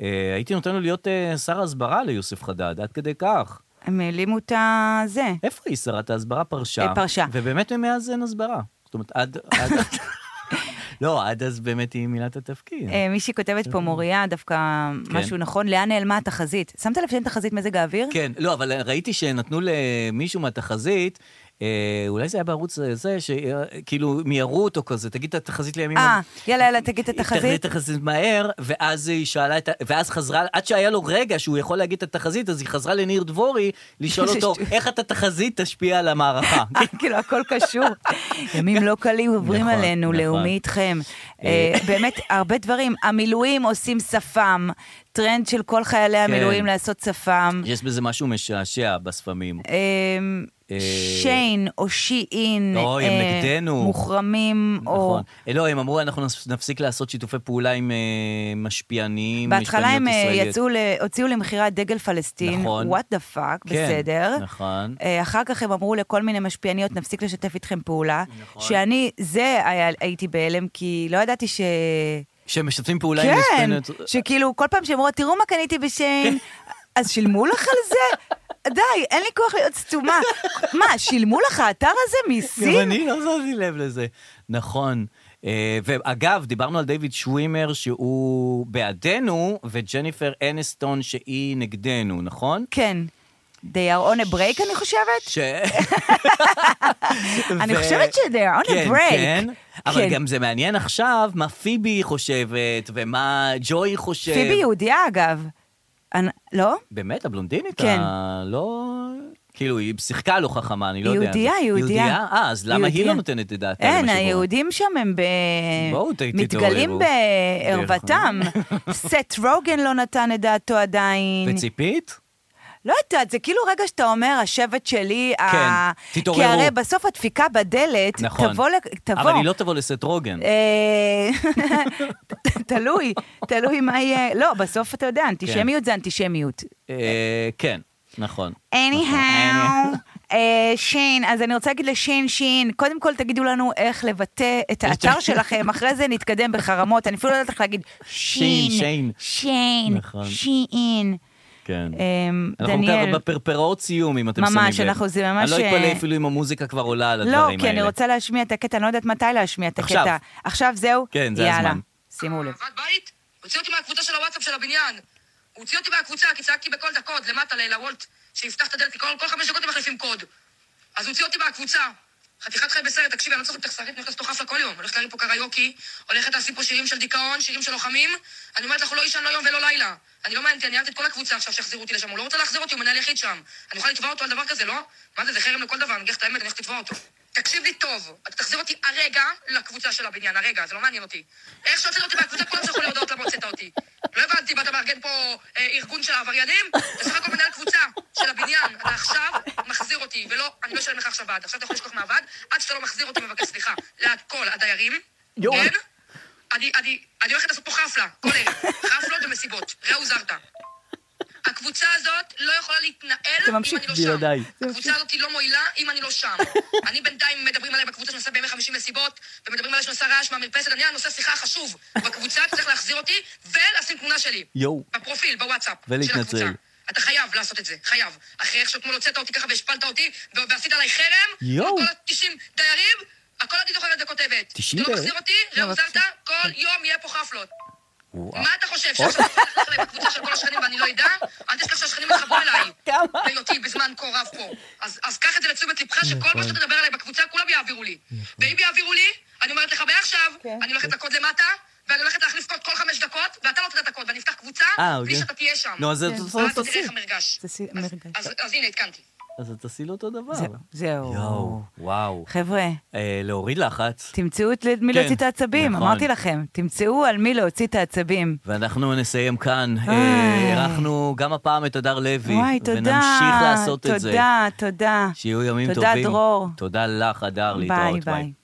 אה, הייתי נותן לו להיות אה, שר הסברה ליוסף חדד, עד כדי כך. הם העלימו את הזה. איפה היא שרת ההסברה? פרשה. אה, פרשה. ובאמת מאז אין הסברה. זאת אומרת, עד... עד... לא, עד אז באמת היא מילת התפקיד. אה, מישהי כותבת כן. פה, מוריה, דווקא משהו נכון, לאן נעלמה התחזית? שמת לב שאין תחזית מזג האוויר? כן, לא, אבל ראיתי שנתנו למישהו מהתחזית, אה, אולי זה היה בערוץ אה, זה, שכאילו מיהרו כאילו, אותו כזה, תגיד את התחזית לימים. אה, יאללה, יאללה, תגיד את התחזית. תגיד את התחזית מהר, ואז היא שאלה את ה... ואז חזרה, עד שהיה לו רגע שהוא יכול להגיד את התחזית, אז היא חזרה לניר דבורי לשאול איזה אותו, שטוי. איך את התחזית תשפיע על המערכה? אה, כאילו, הכל קשור. ימים לא קלים עוברים נכון, עלינו, נכון. לאומי איתכם. אה, באמת, הרבה דברים. המילואים עושים שפם. טרנד של כל חיילי כן. המילואים לעשות שפם. יש בזה משהו משעשע בשפמים. אמ, אה, שיין או שיעין, אוי, הם אה, נגדנו. מוחרמים, או... נכון. אה, לא, הם אמרו, אנחנו נפ- נפסיק לעשות שיתופי פעולה עם אה, משפיענים, בהתחלה הם אה, משפיעניות ישראליות. יצאו, ל- הוציאו למכירת דגל פלסטין, נכון. וואט דה פאק, כן, בסדר. נכון. אה, אחר כך הם אמרו לכל מיני משפיעניות, נפסיק לשתף איתכם פעולה. נכון. שאני, זה היה- הייתי בהלם, כי לא ידעתי ש... שהם משתפים פעולה עם כן, משפיעניות. שכאילו כל פעם שהם אומרות, תראו מה קניתי כן. בשיין, אז שילמו לך על זה? די, אין לי כוח להיות סתומה. מה, שילמו לך האתר הזה גם מסין? אני לא שמתי לב לזה. נכון. אה, ואגב, דיברנו על דיוויד שווימר, שהוא בעדנו, וג'ניפר אנסטון, שהיא נגדנו, נכון? כן. They are on a break, אני חושבת? ש... אני ו- חושבת ש- they are on a כן, break. כן, אבל כן. גם זה מעניין עכשיו מה פיבי חושבת ומה ג'וי חושב. פיבי יהודייה, אגב. אנ- לא? באמת, הבלונדינית? כן. ה- לא... כאילו, היא שיחקה לא חכמה, אני לא יודע. יהודייה, יהודייה. יהודייה? אה, אז למה היא יהודייה. לא נותנת את דעתה למה אין, שקורה? היהודים שם הם ב... בואו, ת- תתעוררו. מתגלים בערוותם. סט רוגן לא נתן את דעתו עדיין. וציפית? לא יודעת, זה כאילו רגע שאתה אומר, השבט שלי, כן, ה... תתעוררו. כי הרי בסוף הדפיקה בדלת, נכון. תבוא, לק- תבוא. אבל היא לא תבוא לסט רוגן. אה, תלוי, תלוי מה יהיה. לא, בסוף אתה יודע, אנטישמיות זה אנטישמיות. אה, כן, נכון. anyhow, אה, שין, אז אני רוצה להגיד לשין, שין, קודם כל תגידו לנו איך לבטא את האתר שלכם, אחרי זה נתקדם בחרמות, אני אפילו לא יודעת איך להגיד שין, שין, שין, נכון. שין. כן. אמ, אנחנו ככה דניאל, בפרפראות סיום, אם אתם ממש, שמים לב. אנחנו- זה ממש, אני לא אתפלא אה, אפילו אם המוזיקה כבר עולה על הדברים לא, האלה. כי אני רוצה להשמיע את הקטע, אני לא יודעת מתי להשמיע את עכשיו. הקטע. עכשיו זהו? כן, זה יאללה, הזמן. שימו לב. ועד בית, הוציא אותי מהקבוצה של הוואטסאפ של הבניין. הוא הוציא אותי מהקבוצה כי צעקתי בכל דקות למטה ל- לוולט, שיפתח את הדלת, כי כל כל חמש דקות הם מחליפים קוד. אז הוא הוציא אותי מהקבוצה. חתיכת חי בסרט, תקשיבי, אני לא צריך להיות אכסרית, אני הולכת לעשות חפלה כל יום. הולכת להרים פה קריוקי, הולכת לעשות פה שירים של דיכאון, שירים של לוחמים. אני אומרת לך, הוא לא יישן לא יום ולא לילה. אני לא מעניינתי, אני אהבתי את כל הקבוצה עכשיו שהחזירו אותי לשם. הוא לא רוצה להחזיר אותי, הוא מנהל יחיד שם. אני אוכל לתבוע אותו על דבר כזה, לא? מה זה, זה חרם לכל דבר, אני אגיד לך את האמת, אני הולכת לתבוע אותו. תקשיב לי טוב, אתה תחזיר אותי הרגע לקבוצה של הבניין, הרגע, זה לא מעניין אותי. איך שהוצאת אותי מהקבוצה, כולם שלחו לי הודעות למה הוצאת אותי. לא הבנתי, מה אתה מארגן פה אה, ארגון של העבריינים? אתה סך הכל מנהל קבוצה של הבניין. אתה עכשיו מחזיר אותי, ולא, אני לא אשלם לך עכשיו ועד. עכשיו אתה יכול לשכוח מהוועד, עד שאתה לא מחזיר אותי, מבקש סליחה. לכל הדיירים, יואו. כן? אני, אני, אני הולכת לעשות פה חפלה, כל ערב. חפלות ומסיבות. ראו זרטא. הקבוצה הזאת לא יכולה להתנהל אם ממשיך אני לא שם. בלעדיי. הקבוצה הזאת היא לא מועילה אם אני לא שם. אני בינתיים מדברים עליי בקבוצה שנוסע בימי חמישים מסיבות, ומדברים עליי שנוסע רעש מהמרפסת, אני הנושא שיחה החשוב. בקבוצה אתה צריך להחזיר אותי ולשים תמונה שלי. יואו. בפרופיל, בוואטסאפ. ולהתנצל. של הקבוצה. אתה חייב לעשות את זה, חייב. אחרי איך שאתמול הוצאת אותי ככה והשפלת אותי, ו- ועשית עליי חרם, יואו. על כל ה-90 דיירים, הכל אני זוכרת את זה כותבת. 90 אתה לא דיירים? מחזיר אותי, ראו זרת, כל יום יהיה פה חפלות. וואו. מה אתה חושב, שעכשיו אני הולך להם בקבוצה של כל השכנים ואני לא אדע? אל תשכח שהשכנים יתחברו אליי. כמה? בהיותי בזמן כה רב פה. אז אז קח את זה לתשומת לבך, שכל נכון. מה שאתה תדבר עליי בקבוצה, כולם יעבירו לי. ואם יעבירו לי, אני אומרת לך מעכשיו, אני הולכת לקוד למטה, ואני הולכת להחליף קוד כל חמש דקות, ואתה לא תדע את הקוד, ואני אפתח קבוצה, אה, בלי אוקיי. שאתה תהיה שם. אה, נו, אז את כן. עושה ואז אותו תראה איך סיר. המרגש. תעשי אז- מרגש. אז- אז הנה, התקנתי. אז את תעשי לו אותו דבר. זהו, זהו. יואו, וואו. חבר'ה, אה, להוריד לחץ, תמצאו את מי כן, להוציא את העצבים, נכון. אמרתי לכם, תמצאו על מי להוציא את העצבים. ואנחנו נסיים כאן. אה, וואי. אירחנו גם הפעם את הדר לוי. וואי, תודה. ונמשיך לעשות את זה. תודה, תודה. שיהיו ימים תודה, טובים. דרור. תודה לך, הדר, להתראות. ביי, ביי.